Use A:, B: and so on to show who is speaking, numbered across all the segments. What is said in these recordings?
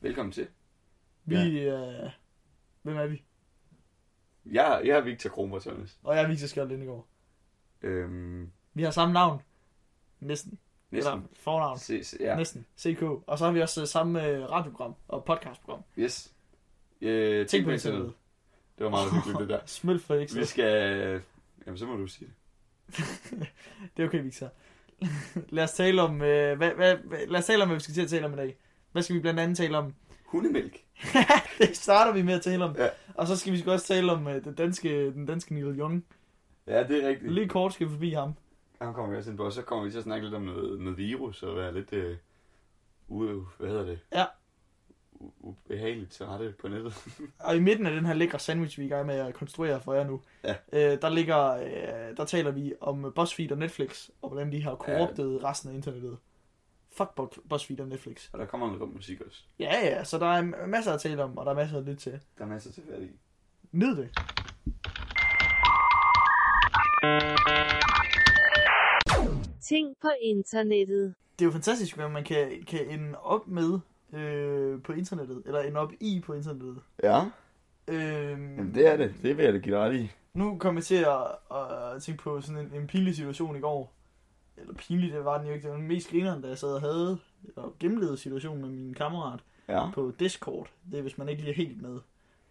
A: Velkommen til.
B: Vi, ja. øh, hvem er vi?
A: Jeg, jeg er Victor Kronborg Tørnes.
B: Og jeg er Victor Skjold Lindegård.
A: Øhm,
B: Vi har samme navn. Næsten.
A: næsten.
B: Eller fornavn.
A: Se, se,
B: Ja.
A: ja.
B: Næsten. CK. Og så har vi også øh, samme øh, radioprogram og podcastprogram.
A: Yes. Øh,
B: Tænk på
A: internettet.
B: internettet.
A: Det var meget hyggeligt, det der.
B: Smøl for ikke.
A: Vi skal... øh, Jamen, så må du sige det.
B: Det er okay, Victor. lad os tale om, øh, hvad, hvad, hvad, lad os tale om, hvad vi skal til at tale om i dag. Hvad skal vi blandt andet tale om?
A: Hundemælk.
B: det starter vi med at tale om.
A: Ja.
B: Og så skal vi sgu også tale om øh, den, danske, den danske Neil Young.
A: Ja, det er rigtigt.
B: Lige kort skal vi forbi ham.
A: Han kommer vi også ind på, og så kommer vi til at snakke lidt om noget, noget virus og være lidt... Øh, ude, hvad hedder det?
B: Ja.
A: U- ubehageligt til rette på nettet.
B: Og i midten af den her lækre sandwich, vi er i gang med at konstruere for jer nu,
A: Ja.
B: øh, der, ligger, øh, der taler vi om BuzzFeed og Netflix, og hvordan de har korruptet ja. resten af internettet. Fuck Bu- BuzzFeed og Netflix.
A: og der kommer noget god musik også.
B: Ja, ja, så der er m- masser at tale om, og der er masser at lytte til.
A: Der er masser til fat i.
B: Nyd det.
C: Ting på internettet.
B: Det er jo fantastisk, hvad man kan, kan ende op med øh, på internettet, eller ende op i på internettet.
A: Ja,
B: Øh,
A: er det. Det vil jeg da give dig ret i.
B: Nu kom jeg til at, at tænke på sådan en, en pinlig situation i går. Eller pinlig, det var den jo ikke. Det var den mest grineren, da jeg sad og havde og gennemlevede situationen med min kammerat
A: Ja.
B: på Discord. Det er, hvis man ikke lige er helt med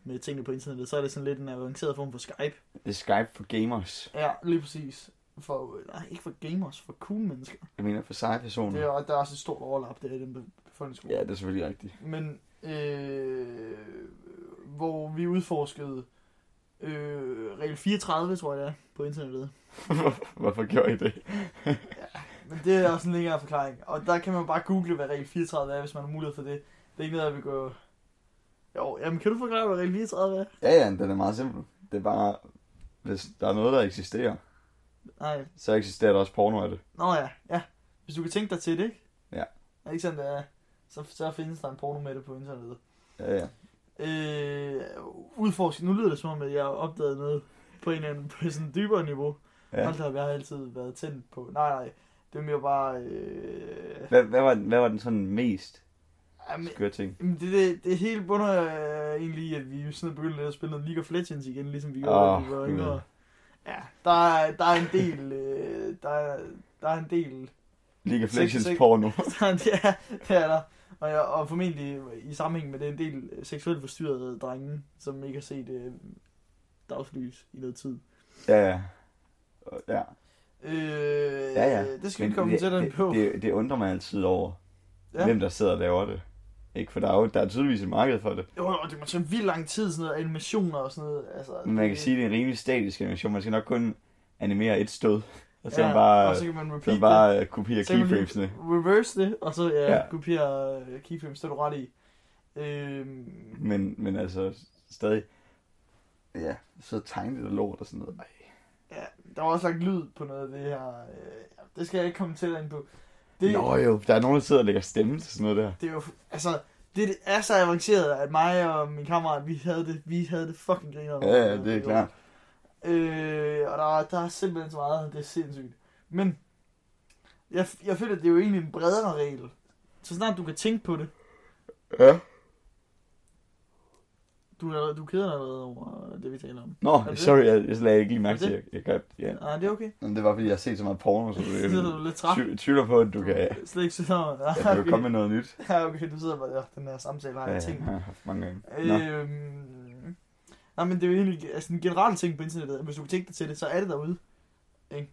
B: med tingene på internettet, så er det sådan lidt en avanceret form for Skype.
A: Det er Skype for gamers.
B: Ja, lige præcis. For, nej, ikke for gamers, for cool mennesker.
A: Jeg mener for seje personer.
B: Det er, der er også et stort overlap, det er i den be- befolkningsgruppe.
A: det er selvfølgelig rigtigt.
B: Men øh, hvor vi udforskede øh, regel 34, tror jeg det er, på internettet.
A: Hvorfor gjorde I det?
B: Men det er også en længere forklaring. Og der kan man bare google, hvad regel 34 er, hvis man har mulighed for det. Det er ikke noget, jeg vil gå... Jo, jamen kan du forklare, hvad regel 34 er?
D: Ja, ja, den er meget simpel. Det er bare, hvis der er noget, der eksisterer,
B: Nej.
D: så eksisterer der også porno af det.
B: Nå ja, ja. Hvis du kan tænke dig til det, ikke?
D: Ja.
B: Er ikke sådan, det er? Så, så findes der en porno med det på internettet.
D: Ja, ja.
B: Øh, udforsk. Nu lyder det som om, at jeg har opdaget noget på en eller anden på sådan et dybere niveau. Ja.
D: Ja.
B: Hold da op, jeg har altid været tændt på. Nej, nej. Det er mere bare... Øh...
D: Hvad, hvad, var, den- hvad var den sådan mest
B: Jamen,
D: skøre ting?
B: Jamen, det, det, det hele bunder øh, egentlig i, at vi sådan er begyndt lidt at spille noget League of Legends igen, ligesom vi gjorde, oh,
D: Åh,
B: da vi var
D: gud.
B: yngre. Ja, der, er- der er en del... Øh, der, er- der er en del...
D: League of
B: Seks-
D: Legends
B: seks-
D: porno.
B: Der er, en- ja, det er der. Og, jeg, og formentlig i sammenhæng med det, en del seksuelt forstyrrede drenge, som ikke har set øh, dagslys i noget tid.
D: Ja, ja. Og- Ja,
B: Øh,
D: ja, ja.
B: Det skal vi
D: Men
B: komme
D: det-
B: til den
D: det-
B: på.
D: Det, det, undrer mig altid over,
B: Ja.
D: ja. hvem der sidder og laver det. Ikke, for der er, jo, der er tydeligvis et marked for det.
B: Jo, jo, det må tage vildt lang tid, sådan noget animationer og sådan noget. Altså,
D: Men man kan
B: det-
D: sige, at det er en rimelig statisk animation. Man skal nok kun animere et stød. Og så
B: ja,
D: ja, bare,
B: og så kan man
D: så
B: repeat det.
D: bare øh, kopiere
B: Så kan man lige
D: keyframesene.
B: reverse det, og så ja, ja.
D: Ja.
B: kopiere øh, keyframes, det er du ret i. Øhm,
D: Men, men altså, stadig... Ja, så tegnet og lort og sådan noget. Ej.
B: ja, der var også lagt lyd på noget af det her. Øh, ja, det skal jeg ikke komme til ind på. Det,
D: Nå jo, der er nogen, der sidder og lægger stemme til sådan noget der.
B: det er jo, altså, det er så avanceret, at mig og min kammerat, vi havde det, vi havde det fucking griner.
D: Ja, ja, det er klart.
B: Øh, og der, er- der er simpelthen så meget, det er sindssygt. Men, jeg, jeg føler, at det er jo egentlig en bredere regel. Så snart du kan tænke på det,
D: Ja.
B: du, er- du keder dig allerede over det, vi taler om.
D: Nå,
B: Er det?
D: sorry, jeg, jeg lagde ikke lige mærke
B: Er det?
D: til, at jeg, jeg gør ja.
B: Nej, det er okay.
D: Men det var, fordi jeg har set så meget porno, så
B: Så sidder du
D: det
B: lidt træt.
D: ty- tvivler på, at du kan,
B: Øh, Slet ikke sidder
D: at du kan komme med noget nyt.
B: Ja, okay, du sidder bare, ja, den her samtale
D: Ja,
B: har jeg Øh,
D: ja,
B: tænkt.
D: jeg har haft mange gange. Nå,
B: Øhm, nej, men det er jo egentlig altså, en generel ting på internettet. at Hvis du kan tænke dig til det, så er det derude. Ikke?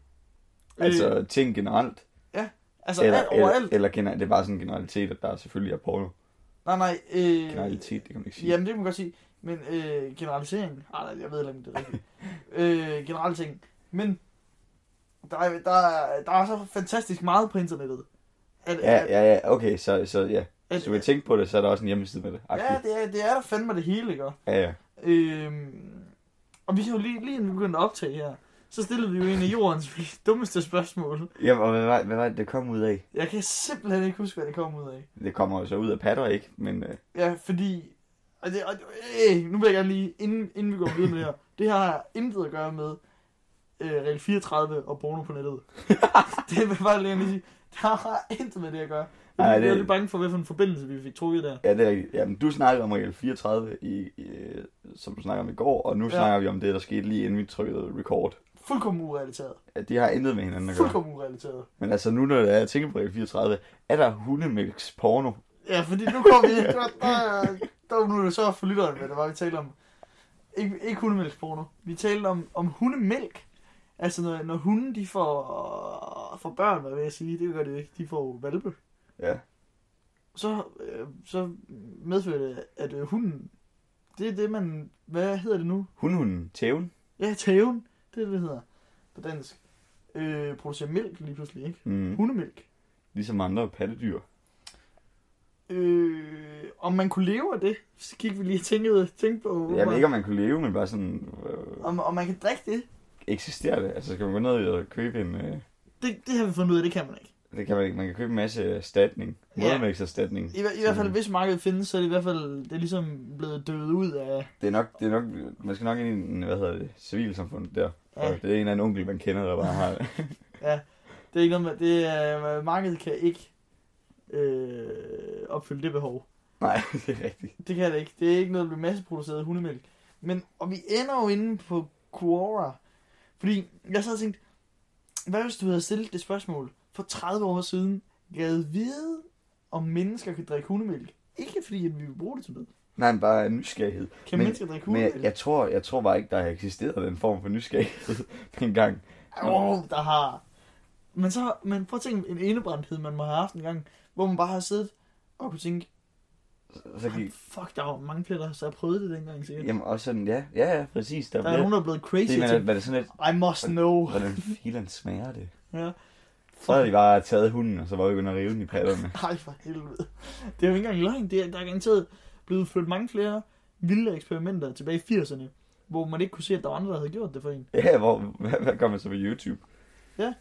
D: altså
B: øh,
D: ting generelt.
B: altså
D: eller,
B: alt,
D: eller,
B: overalt.
D: eller gener- det er bare sådan en generalitet, at der selvfølgelig er porno.
B: nej, nej. Øh,
D: Generalitet, det kan man ikke sige.
B: Jamen, det kan man godt sige. Men øh, generalisering... Ej, nej, jeg ved heller ikke, om det er rigtigt. øh, generelle ting. Men der er, der, er, der er så fantastisk meget på internettet. At,
D: Ja,
B: at-
D: ja, ja, okay, så, så ja. Hvis
B: at,
D: du vil tænke på det, så er der også en hjemmeside med det.
B: ja,
D: Aktivt.
B: det er, det er der fandme det hele, ikke?
D: Ja, ja.
B: Øhm, og vi har jo lige, lige inden vi begyndte at optage her, så stillede vi jo en af jordens dummeste spørgsmål.
D: Jamen, og hvad var, hvad var det, det kom ud af?
B: Jeg kan simpelthen ikke huske, hvad det kom ud af.
D: Det kommer jo så ud af patter, ikke? Men øh,
B: Ja, fordi... Og det, og, øh, nu vil jeg gerne lige, inden, inden vi går videre med det her. Det her har intet at gøre med øh, regel 34 og porno på nettet. det vil jeg bare lige lige sige. Der har intet med det at gøre. Jeg
D: Nej,
B: blev
D: det-
B: lidt bange for, hvilken forbindelse vi fik trukket der.
D: Ja, det er rigtigt. Jamen, du snakkede om regel 34, i, i, som du snakker om i går, og nu
B: Ja.
D: ja. snakker vi om det, der skete lige inden vi trykkede record.
B: Fuldkommen urelateret.
D: Ja, de har intet med hinanden at gøre.
B: Fuldkommen urelateret.
D: Men altså, nu når jeg tænker på regel 34, er der hundemælks porno?
B: Ja, fordi nu kom vi... Der, der, der, nu er det så for lytteren, hvad det var, vi talte om. Ikke, ikke hundemælksporno. Vi talte om, om hundemælk. Altså, når, når hunden, de får, får børn, hvad vil jeg sige? Det gør de jo ikke. De får jo valpe.
D: Ja.
B: Så, øh, så medfører det, at øh, hunden... Det er det, man... Hvad hedder det nu?
D: Hundhunden, tæven?
B: Ja, tæven. Det er det, det hedder på dansk. Øh, producerer mælk lige pludselig, ikke?
D: Mm.
B: Hundemælk.
D: Ligesom andre pattedyr.
B: Øh, om man kunne leve af det, så gik vi lige og tænkte, tænkte på,
D: Jeg ved ikke, om man kunne leve, men bare sådan, øh,
B: om, om man kan drikke det.
D: eksisterer det? Altså, skal man gå ned og købe en... Øh,
B: det. Det har vi fundet ud af, det kan man ikke.
D: det kan man ikke. Man kan købe en masse erstatning.
B: Ja.
D: Modermælkserstatning.
B: I, hver- i hvert fald, hvis markedet findes, så er det i hvert fald det er ligesom blevet dødet ud af...
D: Det er nok, det er nok, man skal nok ind i en, hvad hedder det, civilsamfundet der.
B: Ja.
D: Ja. Det er en eller anden onkel, man kender, der bare har...
B: Det er ikke noget med, det er, markedet kan ikke øh, opfylde det behov.
D: Nej, det er rigtigt.
B: Det kan det ikke. Det er ikke noget, der bliver masseproduceret hundemælk. Men, og vi ender jo inde på Quora. Fordi jeg sad og tænkte, hvad hvis du havde stillet det spørgsmål for 30 år siden? Gad vide, om mennesker kan drikke hundemælk? Ikke fordi, at vi vil bruge det til noget.
D: Nej, men bare nysgerrighed.
B: Kan
D: Men-
B: mennesker drikke
D: Men
B: hundemælk?
D: jeg, jeg, tror, jeg tror bare ikke, der har eksisteret den form for nysgerrighed dengang.
B: Åh, oh, der har... Men så, men prøv at tænke en enebrændthed, man må have haft en gang, hvor man bare har siddet og kunne tænke,
D: Så
B: "Ej,
D: gik,
B: fuck, der var mange flere, der så har prøvet det dengang, sikkert.
D: jamen også sådan, ja, ja, ja, præcis. Der,
B: der er nogen, der er blevet crazy
D: det,
B: det,
D: men
B: til,
D: var det sådan lidt,
B: I must know.
D: hvordan filen smager det?
B: Ja.
D: Så havde de bare taget hunden, og så var vi begyndt at rive den i patterne.
B: Ej, for helvede. Det er jo ikke engang løgn. Det er, der er garanteret blevet flyttet mange flere vilde eksperimenter tilbage i 80'erne, hvor man ikke kunne se, at der var andre, der havde gjort det for en.
D: Ja, hvor, hvad, hvad gør man så på YouTube?
B: Ja.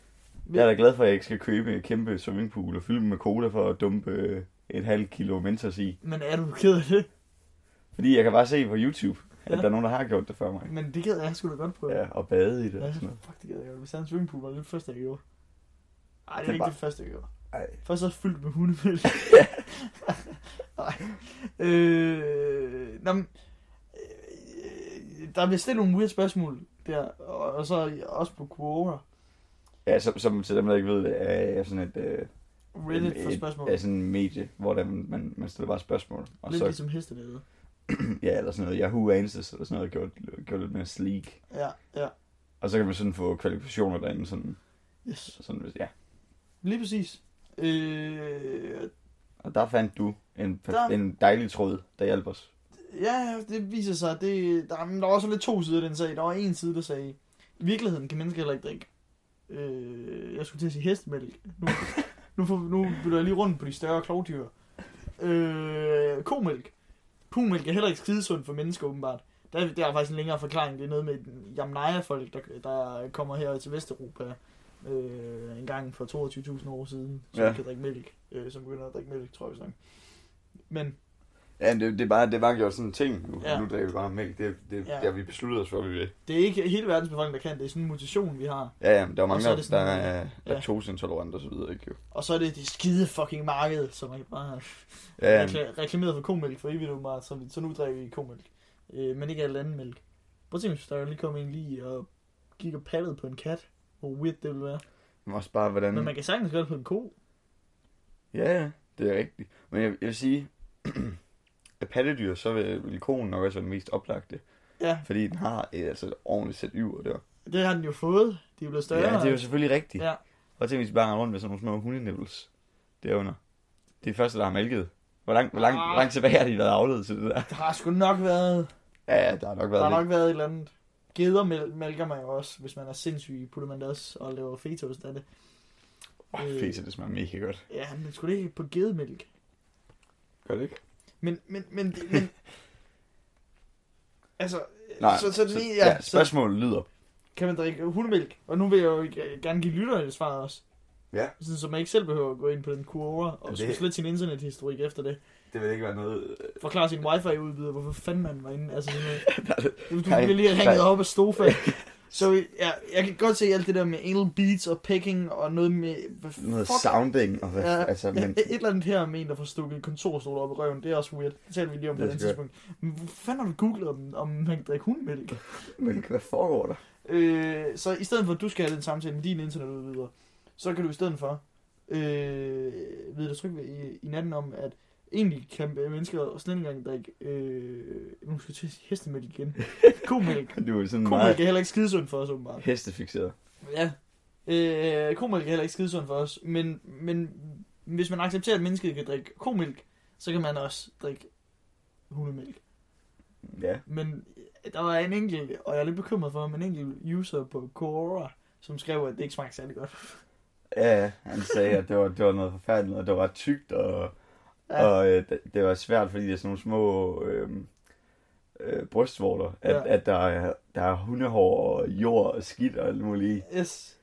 D: Jeg er da glad for, at jeg ikke skal købe en kæmpe swimmingpool og fylde den med cola for at dumpe øh, et halvt kilo mentos i.
B: Men er du ked af det?
D: Fordi jeg kan bare se på YouTube, at
B: Ja.
D: ja. der er nogen, der har gjort det før mig.
B: Men det gad jeg sgu da godt på.
D: Ja, og bade i det og sådan
B: Ja,
D: noget.
B: fuck, det gad jeg godt. Hvis jeg havde en swimmingpool, var det det første, jeg gjorde. Ej, det
D: Det
B: er
D: er
B: ikke
D: bare-
B: det første, jeg gjorde.
D: Ej.
B: Først så fyldt med hundemælk. Nej. Øh, nå, men, øh, der bliver stillet nogle weird spørgsmål der, og, og så også på Quora.
D: Ja, som, som til dem, der ikke ved det, er er sådan et, øh,
B: Reddit for
D: et-
B: spørgsmål.
D: er sådan en medie, hvor der, man, man stiller bare spørgsmål. Og
B: Lidt
D: altså, så,
B: ligesom hestenede.
D: ja, eller sådan noget, Yahoo Answers, eller sådan noget, gjort, gjort lidt mere sleek.
B: Ja, ja.
D: Og så kan man sådan få kvalifikationer derinde, sådan,
B: Yes.
D: sådan hvis- ja.
B: Lige præcis. Øh,
D: Og der fandt du en,
B: Der-
D: der... en dejlig tråd, der hjalp os.
B: ja, ja, det viser sig. Det, der, men der var også lidt to sider af den sag. Der var en side, der sagde, i virkeligheden kan mennesker heller ikke drikke. Øh, jeg skulle til at sige hestemælk. Nu, nu, får, nu bytter jeg lige rundt på de større klovdyr. Øh, komælk. Pumælk er heller ikke skidesund for mennesker, åbenbart. Der, der er faktisk en længere forklaring. Det er noget med Jamnaya-folk, der, der kommer her til Vesteuropa øh, en gang for 22.000 år siden, som ja.
D: Ja.
B: kan drikke mælk. Øh, som begynder at drikke mælk, tror jeg, vi snakker. Men
A: Ja, det, det, er bare, det er bare gjort sådan en ting. Nu,
B: Ja.
A: ja. nu drikker vi bare mælk. Det, det,
B: Ja.
A: ja. vi besluttede os for, at vi vil.
B: Det er ikke hele verdens befolkning, der kan. Det er sådan en mutation, vi har.
A: Ja, ja, men der er
B: Og
A: mange,
B: så er
A: der,
B: det
A: der
B: sådan-
A: er
B: ja.
A: laktoseintolerant og så videre, ikke jo?
B: Og så er det det skide fucking marked, som man bare har
A: Ja, ja,
B: rekla- reklameret for komælk for evigt meget, så, så nu drikker vi komælk. Øh, men ikke alt andet mælk. Prøv at tænke, hvis der lige kom en lige og gik og pattede på en kat. Hvor weird det ville være.
D: Men også bare, hvordan...
B: Men man kan sagtens gøre det på en ko.
D: Ja, ja,
A: det er rigtigt. Men jeg, jeg vil sige, at pattedyr, så vil, vil konen nok også være den mest oplagte.
B: Ja,
A: Fordi den har et, altså et ordentligt sæt yver der.
B: det har den jo fået. De er blevet større.
D: Ja, det er jo selvfølgelig rigtigt.
B: Ja.
D: Ja. Og tænk, hvis vi bare render rundt med sådan nogle små hundenibbles derunder. Det er de første, der har mælket. Hvor langt, hvor langt, hvor langt tilbage har de været afledt til det der?
B: Der har sgu nok været,
A: Ja, ja, der har nok
B: der
A: været
B: har
A: lidt.
B: nok været et eller andet. Geder mæl- mælker man jo også. Hvis man er sindssyg, putter man det også og laver fetos af det.
D: Åh,
B: Øh.
D: oh, fæse, det smager mega godt.
B: Ja, men skulle det ikke på gedemælk?
A: Gør det ikke?
B: Men, men, men, det- men altså,
D: Nej,
B: så, så, lige,
D: ja,
B: ja,
D: ja,
B: så
D: spørgsmålet lyder.
B: kan man drikke hundemælk, og nu vil jeg jo øh, gerne give lytterne et svar også.
A: Ja.
B: Sådan, så man ikke selv behøver at gå ind på den Quora og
A: Ja,
B: det...
A: det-
B: skulle slette sin internethistorik efter det.
A: Det vil ikke være noget... øh,
B: Forklare sin wifi-udbyder, hvorfor fanden man var inde. Altså, sådan noget. Du
D: Nej,
B: bliver lige ringet
D: nej.
B: op af sofa. Så ja, jeg kan godt se alt det der med anal beats og pecking og noget med... Hvad
D: Noget
B: fuck-
D: sounding og hvad,
B: Ja,
D: altså,
B: ja,
D: men,
B: et eller andet her med en, der får stukket en kontorstol op i røven, det er også weird. Det taler vi lige om på
D: Det
B: et
D: er skørt.
B: andet tidspunkt. Men hvor fanden har du googlet, om, om man kan drikke hundmælk?
D: men hvad foregår der?
B: Øh, så i stedet for, at du skal have den samtale med din internetudbyder, så kan du i stedet for øh, vide dig tryg ved i, i natten om, at egentlig kan mennesker slet ikke engang drikke, øh, nu skal jeg til at sige hestemælk igen, komælk.
D: Du er sådan
B: Komælk
D: meget
B: er heller ikke skidesundt for os, åbenbart.
D: hestefixeret.
B: Ja. Øh, komælk er heller ikke skidesundt for os, men, men hvis man accepterer, at mennesket kan drikke komælk, så kan man også drikke hundemælk.
D: Ja,
B: Men øh, der var en enkelt, og jeg er lidt bekymret for, men en enkelt user på Quora, som skrev, at det ikke smagte særlig godt.
D: ja, ja, han sagde, at det var, det var noget forfærdeligt, og det var ret tykt, og,
B: Ja.
D: ja. og øh, det- det var svært, fordi der er sådan nogle små øh, øh, brystvorter, at,
B: Ja.
D: ja. at der, er, der er hundehår og jord og skidt og alt muligt i,
B: Yes.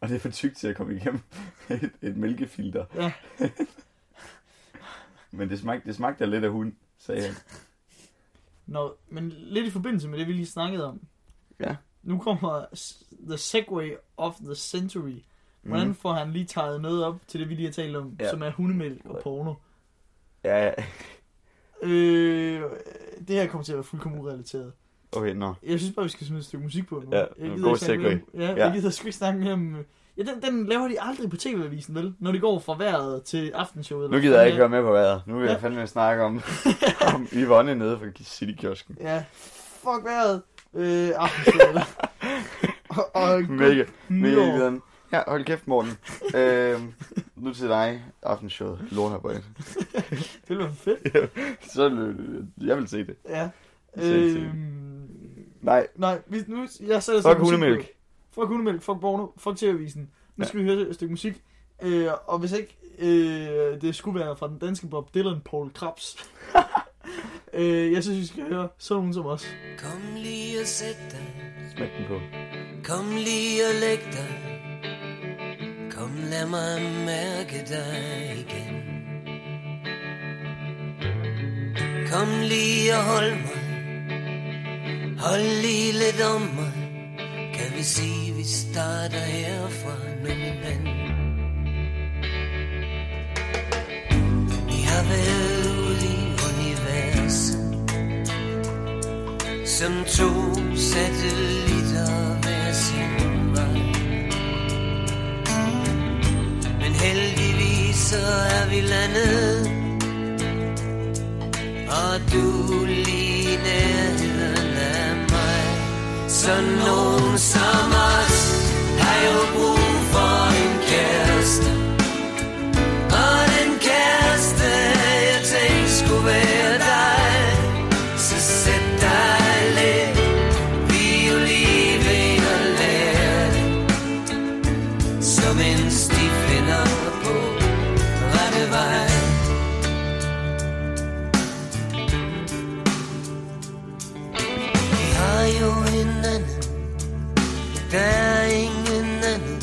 D: og det er for tykt til at komme igennem et, et mælkefilter.
B: Ja.
D: men det smagte, det smagte da lidt af hund, sagde han.
B: Nå, men lidt i forbindelse med det, vi lige snakkede om.
D: Ja.
B: Nu kommer s- The Segway of the Century. Hvordan mm. får han lige taget noget op til det, vi lige har talt om, ja.
D: Mhm. Ja.
B: som er hundemælk og porno?
D: Ja, ja.
B: Øh, det her kommer til at være fuldkommen urelateret.
D: okay, nå.
B: Jeg synes bare, vi skal smide et stykke musik på nu.
D: Ja,
B: Jeg
D: en
B: gider
D: god
B: ikke snakke mere om- Ja, jeg
D: Ja.
B: gider sgu ikke snakke mere om... øh, Ja, den, den laver de aldrig på tv-avisen, vel? Når det går fra vejret til aftenshowet.
D: Nu
B: eller
D: gider
B: hvad
D: jeg ikke
B: fanden
D: være med på vejret. Nu vil jeg fandme snakke om, om Yvonne nede fra Citykiosken.
B: det er. Ja, fuck vejret. Øh, aftenshowet. og, og
D: Mega, mega
B: nytår.
D: glæden. Ja, hold kæft, Morten. øhm, nu til dig, aftenshowet, lortarbejde.
B: Det ville være fedt.
D: Så øh, jeg vil se det.
B: Ja.
D: Selv til.
B: Øhm,
D: Nej,
B: nej, hvis nu... Jeg sætter
D: fuck
B: musik på.
D: hundemælk.
B: Fuck hundemælk, fuck Borno, fuck TV-avisen. Nu
D: Ja.
B: skal vi høre et stykke musik. Øh, og hvis ikke øh, det skulle være fra den danske Bob Dylan, Paul Krabs. øh, jeg synes, vi skal høre sådan nogen som os.
E: Kom lige og sæt dig,
D: Smæk den på.
E: kom lige og læg dig. Kom lad mig mærke dig igen. Kom lige og hold mig, hold lige lidt om mig. Kan vi sige, vi starter herfra nu, min ven. Vi har været ude i universet som to satellitter hver sin vej. Men heldigvis så er vi landet, og du er lige i nærheden af mig. Så nogen som os har jo brug for en kæreste. Og den kæreste, jeg tænkte skulle være dig. Så sæt dig lidt Vi er jo lige ved at lære det Så mens de finder på rette vej Vi har jo hinanden Der er ingen anden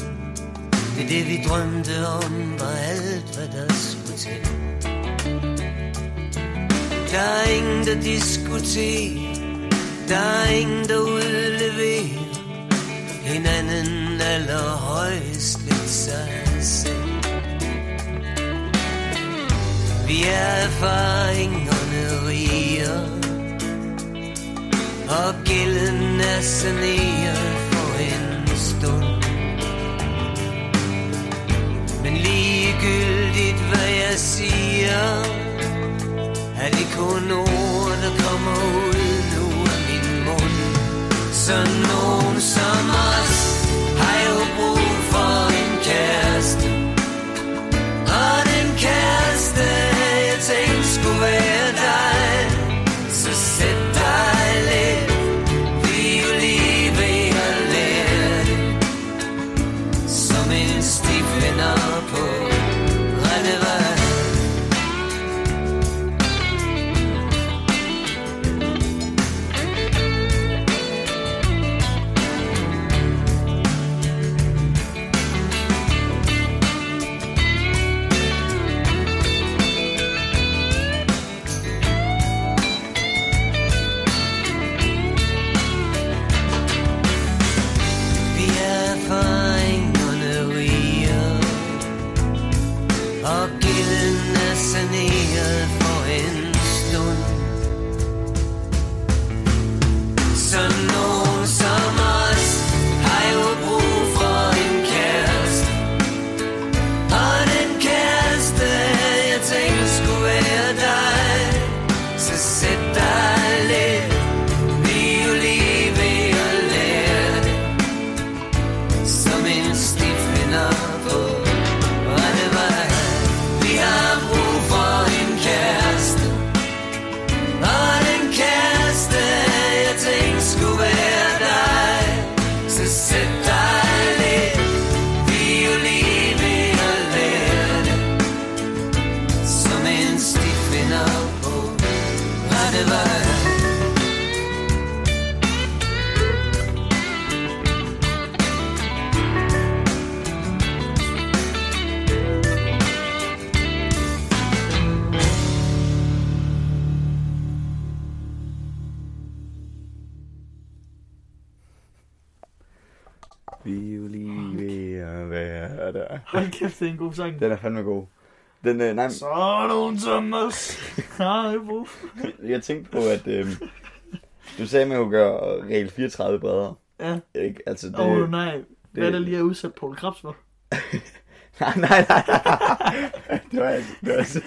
E: Det er det vi drømte om Var alt hvad der skulle til der er ingen, der diskuterer. Der er ingen, der udleverer. Hinanden allerhøjst lidt sig selv. Vi er erfaringerne riger. Og gælden er saneret for en stund. Men ligegyldigt hvad jeg siger, er det kun ord, der kommer ud nu af min mund? Så nogen som os har jo brug for en kæreste. Og den kæreste, jeg tænkte skulle være dig. Så sæt dig lidt, vi er jo lige ved at lære det. Som en stiv finder på rette vej. Så sæt dig lidt violin ved og lær det Som en stifinder på rette vej Vi har brug for en kæreste Og den kæreste jeg tænkte skulle være dig Så sæt dig lidt violin ved og lær det som en stifinder på rette vej.
D: Vi er jo lige ved at være der.
B: Hold kæft, det er en god sang.
D: Den er fandme god. Den, øh, nej,
B: Så er nogen som os. Har jeg brug for.
D: jeg tænkte på, at øh, du sagde, at man kunne gøre regel 34 bredere.
B: Ja.
D: Ikke? Altså, det,
B: Åh oh, nej. Hvad er
D: det-
B: der lige er udsat Paul Krabs for?
D: nej, nej, nej, nej. Det var altså... Det var altså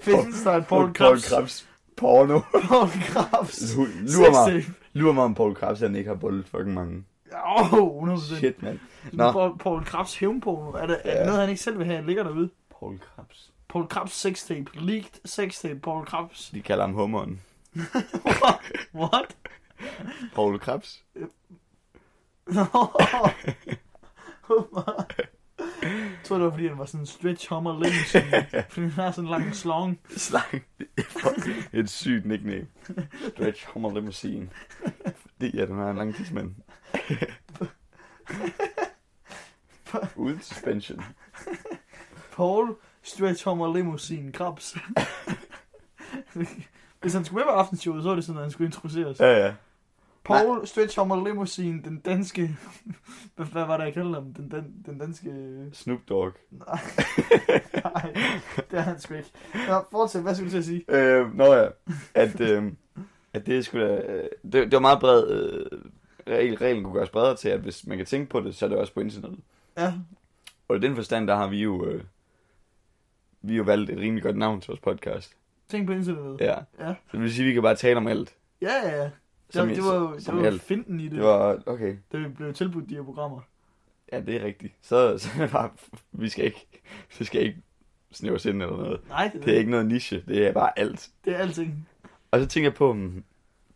B: Findes der et Paul
D: Paul
B: Krabs?
D: Krabs porno.
B: Paul Krabs.
D: Lu- Lurer mig,
B: Sextape.
D: lurer mig om Paul Krabs, han ikke har boldet fucking mange.
B: Åh, oh, 100%. Shit.
D: Shit, mand. Nå.
B: Paul, Paul Krabs hævnporno. Er det, er
D: Ja.
B: det noget, han ikke selv vil have, ligger derude?
D: Paul Krabs.
B: Paul Krabs sextape. Leaked sextape. Paul Krabs.
D: De kalder ham hummeren.
B: What?
D: Paul Krabs.
B: Nå. Jeg tror, det var, fordi han var sådan en stretch hummer længe, sådan- fordi han har sådan en lang slong.
D: Slang. Et sygt nickname. Stretch Hummer Limousine. Det er, den har en lang tidsmand. Uden suspension.
B: Paul Stretch Hummer Limousine Krabs. Hvis han skulle med på aftenshowet, så var det sådan, at han skulle introduceres.
D: Ja, ja.
B: Paul Nej. Stretch Hummer Limousine, den danske... Hvad, hvad var det, jeg kaldte ham? Den, den, den danske...
D: Snoop Dogg.
B: Nej. Nej, det er han sgu ikke. Nå, fortsæt, hvad skulle du til at sige?
D: Øh, nå ja. At, øh, at det skulle da... Øh, det, det, var meget bred... Øh, regel, reglen kunne gøres bredere til, at hvis man kan tænke på det, så er det også på internettet.
B: Ja,
D: Og i den forstand, der har vi jo... Øh, vi har jo valgt et rimelig godt navn til vores podcast.
B: tænk på internettet.
D: Ja.
B: Ja.
D: Så det vil sige, at vi kan bare tale om alt.
B: Ja, ja, ja.
D: Som
B: det,
D: i-
B: det var jo det
D: som i
B: var jo
D: alt.
B: finten i det,
D: Det var... Okay.
B: da vi blev tilbudt de her programmer.
D: Ja, det er rigtigt. Så, så er det bare, vi skal ikke, vi skal ikke snæves ind eller noget.
B: Nej, det,
D: Det er ikke noget niche, det er bare alt.
B: det er alting.
D: Og så tænker jeg på, hmm,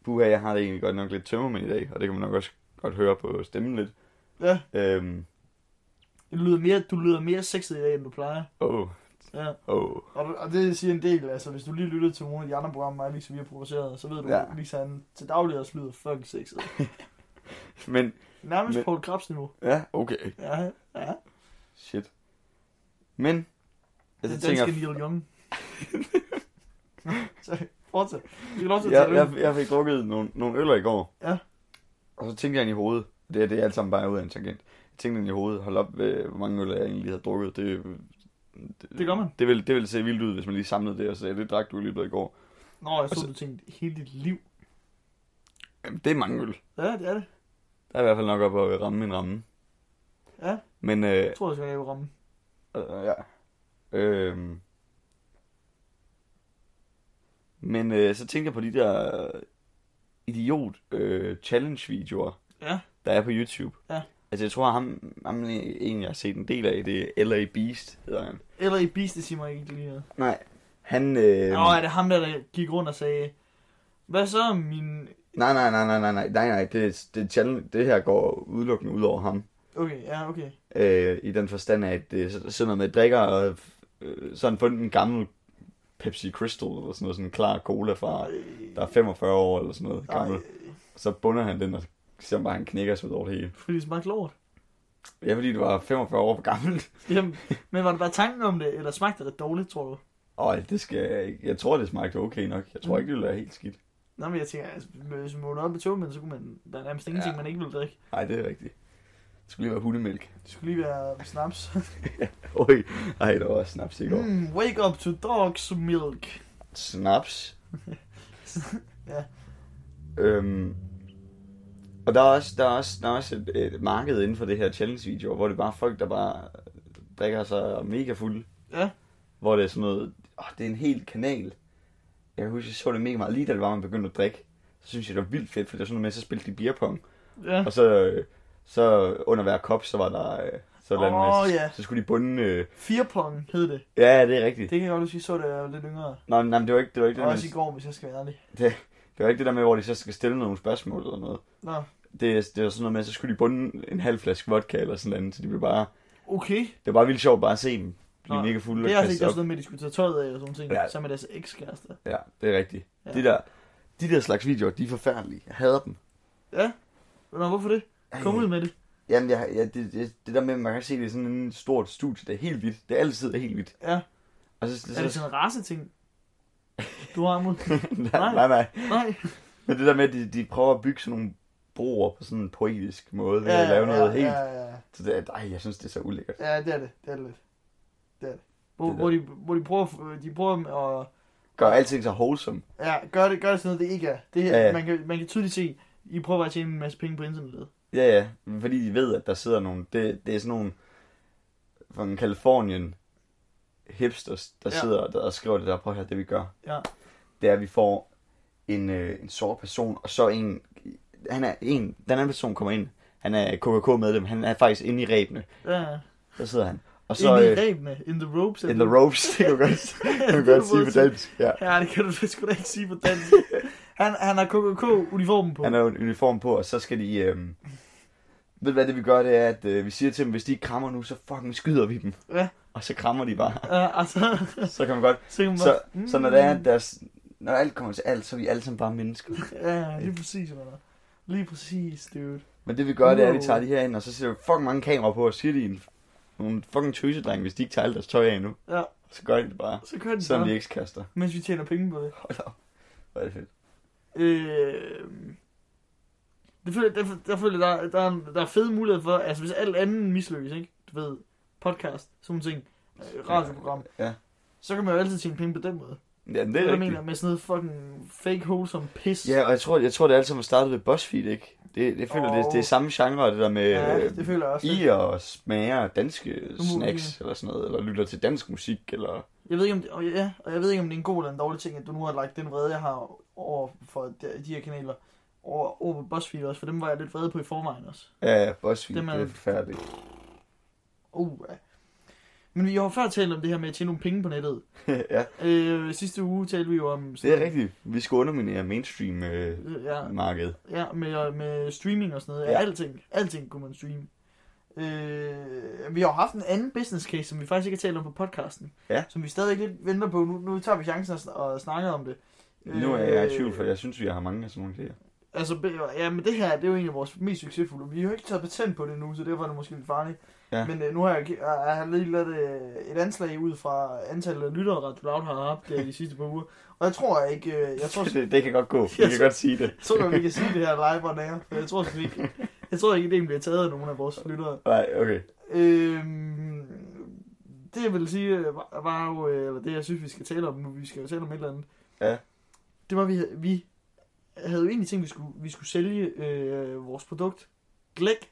D: puha, jeg har det egentlig godt nok lidt tømmermænd i dag, og det kan man nok også godt høre på stemmen lidt.
B: Ja,
D: Øhm,
B: det lyder mere, du lyder mere sexet i dag, end du plejer.
D: oh,
B: Ja.
D: oh.
B: Og, og det siger en del, altså hvis du lige lytter til nogle af de andre programmer, mig og Lisa, vi har produceret, så ved du,
D: Ja.
B: ja. Lisa han til daglig også lyder fucking sexet.
D: Men,
B: Nærmest
D: Men- Altså,
B: Men... Paul Krabs niveau.
D: ja, okay,
B: Ja, ja.
D: shit. Men,
B: Den
D: altså, tænker,
B: danske Neil Young. så fortsæt. Du skal lov til at
D: jeg,
B: tale ud.
D: jeg, jeg fik drukket nogle, nogle øller i går.
B: Ja.
D: Og så tænkte jeg ind i hovedet. Det, er- det er alt sammen bare ud af en tangent. Jeg tænkte ind i hovedet, hold op, øh, hvor mange øller jeg egentlig har drukket. Det,
B: Det gør man.
D: Det ville, det ville se vildt ud, hvis man lige samlede det og sagde, det drak du i løbet af i går.
B: Nå, jeg så,
D: Altså-
B: du tænkte hele dit liv.
D: Jamen, det er mange øl.
B: Ja, det er det.
D: Der er i hvert fald nok op at ramme en ramme.
B: Ja.
D: Men, øh,
B: Jeg tror, jeg skal lave ramme.
D: øh, ja. Øh, men øh, så tænkte jeg på de der idiot øh, challenge-videoer,
B: Ja.
D: der er på YouTube.
B: Ja.
D: Altså, jeg tror, ham, ham en, jeg har set en del af, det er L.A. Beast, hedder han.
B: Eller i Beast, det siger mig ikke lige noget.
D: Nej. Han, øh,
B: Nå, er det ham der, der gik rundt og sagde, hvad så min...
D: nej, nej, nej, nej, nej, nej, nej, nej, det, det, challenge, det her går udelukkende ud over ham.
B: Okay, ja, okay.
D: Øh, I den forstand, at det er sådan noget med drikker, og øh, sådan fundet en gammel Pepsi Crystal, eller sådan noget, sådan en klar cola fra, der er 45 år, eller sådan noget Ah, gammel. Så bunder han den, og så bare, han knækker sig ud over det hele.
B: Fordi det smagte lort.
D: Ja, fordi det var 45 år for gammelt.
B: Jamen, men var det bare tanken om det, eller smagte det dårligt, tror du?
D: Og det skal jeg ikke. Jeg tror, det smagte okay nok. Jeg
B: Mm.
D: tror ikke, det ville være helt skidt.
B: Nå, men jeg tænker, altså, hvis man var op i tøvmænd, så kunne man, der er nærmest ingenting,
D: Ja.
B: ja. man ikke ville drikke.
D: Nej, det er rigtigt. Det skulle lige være hundemælk.
B: Det skulle lige være snaps.
D: Oj, ej, der var snaps i går. Mm.
B: mm, wake up to dog's milk.
D: Snaps.
B: Ja.
D: Øhm, og der er også, der er også, der er også et, et, marked inden for det her challenge-videoer, hvor det er bare folk, der bare drikker sig mega fulde.
B: Ja.
D: Hvor det er sådan noget, åh, det er en hel kanal jeg kan huske, jeg så det mega meget. Lige da det var, man begyndte at drikke, så synes jeg, det var vildt fedt, for det var sådan noget med, så spillede de beerpong.
B: Ja.
D: Og så, øh, så under hver kop, så var der øh, sådan
B: Åh,
D: oh,
B: ja.
D: så skulle de bunde... Øh,
B: Firpong hed det.
D: ja, det er rigtigt.
B: Det kan jeg godt huske, I så det jeg var lidt yngre.
D: Nå, men- nej, men det var ikke det, var ikke det,
B: Og
D: der
B: også i
D: med,
B: går, hvis jeg skal være ærlig.
D: det, var ikke det der med, hvor de så skal stille nogle spørgsmål eller noget.
B: Nå,
D: Det, er- det var sådan noget med, så skulle de bunde en halv flaske vodka eller sådan noget, så de blev bare...
B: okay.
D: Det var bare vildt sjovt bare at se dem blive
B: Nå,
D: mega fulde
B: Det er
D: og
B: altså ikke
D: kaste
B: også
D: op.
B: noget med, at de skulle tage tøjet af og sådan ting.
D: Ja.
B: Ja. Sammen med deres ekskærester.
D: Ja, det er rigtigt.
B: Ja.
D: Ja. De, der, de der slags videoer, de er forfærdelige. Jeg hader dem.
B: Ja. Nå, hvorfor det? Kom ud med det.
D: Jamen, jeg, jeg, det, det, det der med, at man kan se det i sådan en stort studie, det er helt vildt. Det er altid helt vildt.
B: Ja.
D: Og så, så,
B: Er det
D: så
B: sådan en race ting? Du har imod?
D: nej, nej, nej.
B: Nej.
D: Men det der med, at de, de prøver at bygge sådan nogle broer på sådan en poetisk måde, ved ja, at lave noget ja, helt...
B: Ja,
D: Ja.
B: ja,
D: Så det, er- ej, jeg synes, det er så ulækkert.
B: ja, det er det. Det er det lidt. Det er det. Hvor,
D: Det er
B: det hvor, de, hvor de prøver, de prøver at
D: Gør alting så wholesome.
B: ja, gør det, gør det sådan noget, det ikke er. Det her, ja,
D: Ja,
B: ja.
D: ja.
B: Man, kan, man kan tydeligt se, I prøver at tjene en masse penge på internettet.
D: Ja, ja. Fordi de ved, at der sidder nogle... Det, det er sådan nogle... Fra en Kalifornien hipsters, der
B: Ja.
D: ja. sidder der og skriver det der. Prøv at høre, det vi gør.
B: Ja.
D: Det er, at vi får en, øh, en sort person, og så en... Han er en... Den anden person kommer ind. Han er KKK-medlem. Han er faktisk inde i ræbene.
B: Ja, ja.
D: Der sidder han. Og
B: Så,
D: så...
B: Ind i
D: Øh,
B: ræbene, in the ropes.
D: in the ropes, det kan du godt, det kan
B: Det
D: du
B: er
D: godt sige på
B: voldsomt.
D: dansk. Ja.
B: Ja, det kan du sgu da ikke sige på dansk. Han, han har KKK-uniformen på.
D: Han har jo en uniform på, og så skal de... Øh, ved du hvad det vi gør, det er, at øh, vi siger til dem, hvis de ikke krammer nu, så fucking skyder vi dem.
B: Ja.
D: Og så krammer de bare.
B: Ja, altså,
D: Så kan man godt...
B: så, kan man
D: Så,
B: bare-
D: så når, det er, at deres, når alt kommer til alt, så er vi alle sammen bare mennesker.
B: Ja, lige præcis, man. Lige præcis, dude.
D: Men det vi gør, det er, at vi tager de her ind, og så sætter vi fucking mange kameraer på, og siger de en, nogle fucking tøsedrenge, hvis de ikke tager alt deres tøj af nu.
B: Ja,
D: Så gør de det bare.
B: så kører den
D: Selvom de
B: bare,
D: ikke kaster.
B: mens vi tjener penge på det.
D: Hold op. Hvor er det fedt.
B: Øh, det føler, der, der, føler der, der, er- der er fede mulighed for, altså hvis alt andet mislykkes, ikke? Du ved, podcast, sådan nogle ting, øh, radioprogram,
D: Ja.
B: så kan man jo altid tjene penge på den måde.
D: Ja, men det
B: Det er
D: er
B: jeg mener
D: rigtigt.
B: med sådan noget fucking fake wholesome pis.
D: Ja, og jeg tror, jeg tror det er alt sammen startet ved BuzzFeed, ikke? Det, det føler, oh. det,
B: Åh.
D: det er samme genre, det der med...
B: ja,
D: øh,
B: det føler jeg også.
D: i og smager danske
B: Umuligt.
D: snacks eller sådan noget, eller lytter til dansk musik, eller...
B: Jeg ved ikke, om det, og ja, og jeg ved ikke, om det er en god eller en dårlig ting, at du nu har lagt den vrede, jeg har over for de, de her kanaler, over, over på BuzzFeed også, for dem var jeg lidt vrede på i forvejen også.
D: Ja, BuzzFeed,
B: Dem
D: det
B: er-
D: er, det er forfærdeligt.
B: Uh, ja. Men vi har jo før talt om det her med at tjene nogle penge på nettet.
D: ja,
B: Øh, sidste uge talte vi jo om...
D: det er rigtigt. Vi skal underminere mainstream-markedet.
B: Øh, ja, ja med, med streaming og sådan noget. Ja.
D: Ja.
B: Alting, alting kunne man streame. Øh, vi har jo haft en anden business case, som vi faktisk ikke har talt om på podcasten.
D: Ja.
B: Som vi stadig lidt venter på. Nu, nu tager vi chancen og, sn- og snakker om det.
D: Nu er jeg i
B: Øh,
D: tvivl, for jeg synes, vi har mange af sådan nogle idéer.
B: Altså, be- ja, men det her, det er jo en af vores mest succesfulde. Vi har jo ikke taget patent på det nu, så derfor er det måske lidt farligt.
D: Ja.
B: Men øh, nu har jeg, jeg har lige lavet øh, et anslag ud fra antallet af lyttere, der Loud har haft øh, de sidste par uger. Og jeg tror jeg ikke, øh, jeg tror, jeg
D: det, det kan godt gå. Vi
B: Jeg
D: kan
B: tror-
D: godt sige det.
B: tror godt, vi kan sige det her live og nære, for jeg tror sgu ikke, jeg tror ikke, det bliver taget af nogen af vores lyttere.
D: Nej, okay.
B: Øhm, det jeg ville sige, øh, var, var jo, øh, eller det jeg synes, vi skal tale om nu, vi skal jo tale om et eller andet.
D: Ja.
B: Det var, vi, vi havde jo egentlig tænkt, vi skulle, vi skulle sælge øh, vores produkt, Glæk,